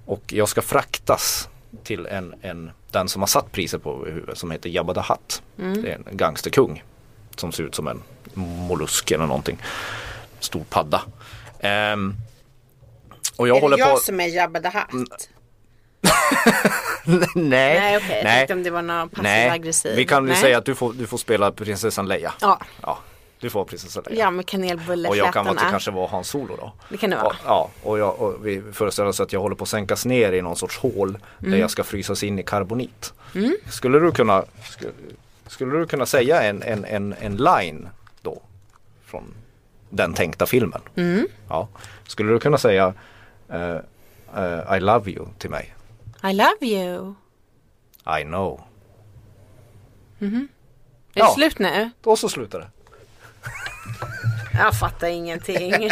Och jag ska fraktas till en, en, den som har satt priset på huvudet som heter Jabba the Hutt.
Mm.
Det är en gangsterkung som ser ut som en mollusk eller någonting. Stor padda. Ehm, och jag
är
håller
det jag
på... Mm,
som är Jabba the Hutt?
[LAUGHS] Nej,
Nej okej, jag tänkte om det var någon passiv aggressiv.
Vi kan ju
Nej.
säga att du får, du får spela prinsessan Leia.
Ja.
Du får prinsessan Leia.
Ja med kanelbulleflätarna.
och jag kan vara, kanske vara Hans Solo då.
Det kan det vara.
Och, ja, och, jag, och vi föreställer oss att jag håller på att sänkas ner i någon sorts hål
Mm.
där jag ska frysas in i karbonit. Skulle, du kunna, skulle, skulle du kunna säga en, en, en, en line då? Från den tänkta filmen.
Mm.
Ja. Skulle du kunna säga eh, eh, I love you till mig?
I love you.
I know.
Är
Ja.
det slut nu?
Och så slutar det.
Jag fattar [LAUGHS] ingenting.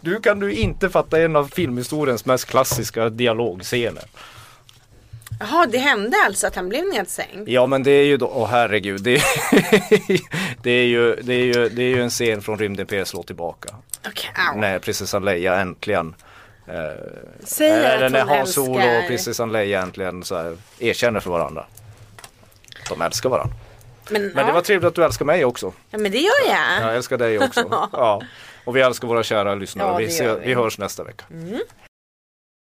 Du kan du inte fatta en av filmhistoriens mest klassiska dialogscener.
Jaha det hände alltså att han blev nedsänkt?
Ja men det är ju då, åh herregud, det är, det är, ju, det är, ju, det är ju en scen från Rymdimperiet slår tillbaka.
Okej, au.
När prinsessan Leia äntligen,
Säger
eller
att
när
hon
Hans Solo och
älskar.
prinsessan Leia äntligen så här, erkänner för varandra. De älskar varandra.
Men,
Men
ja.
det var trevligt att du älskar mig också.
ja men det gör jag. [LAUGHS]
Jag älskar dig också. Ja. Och vi älskar våra kära lyssnare.
Ja,
vi,
det
ser,
gör
vi.
vi.
hörs nästa vecka.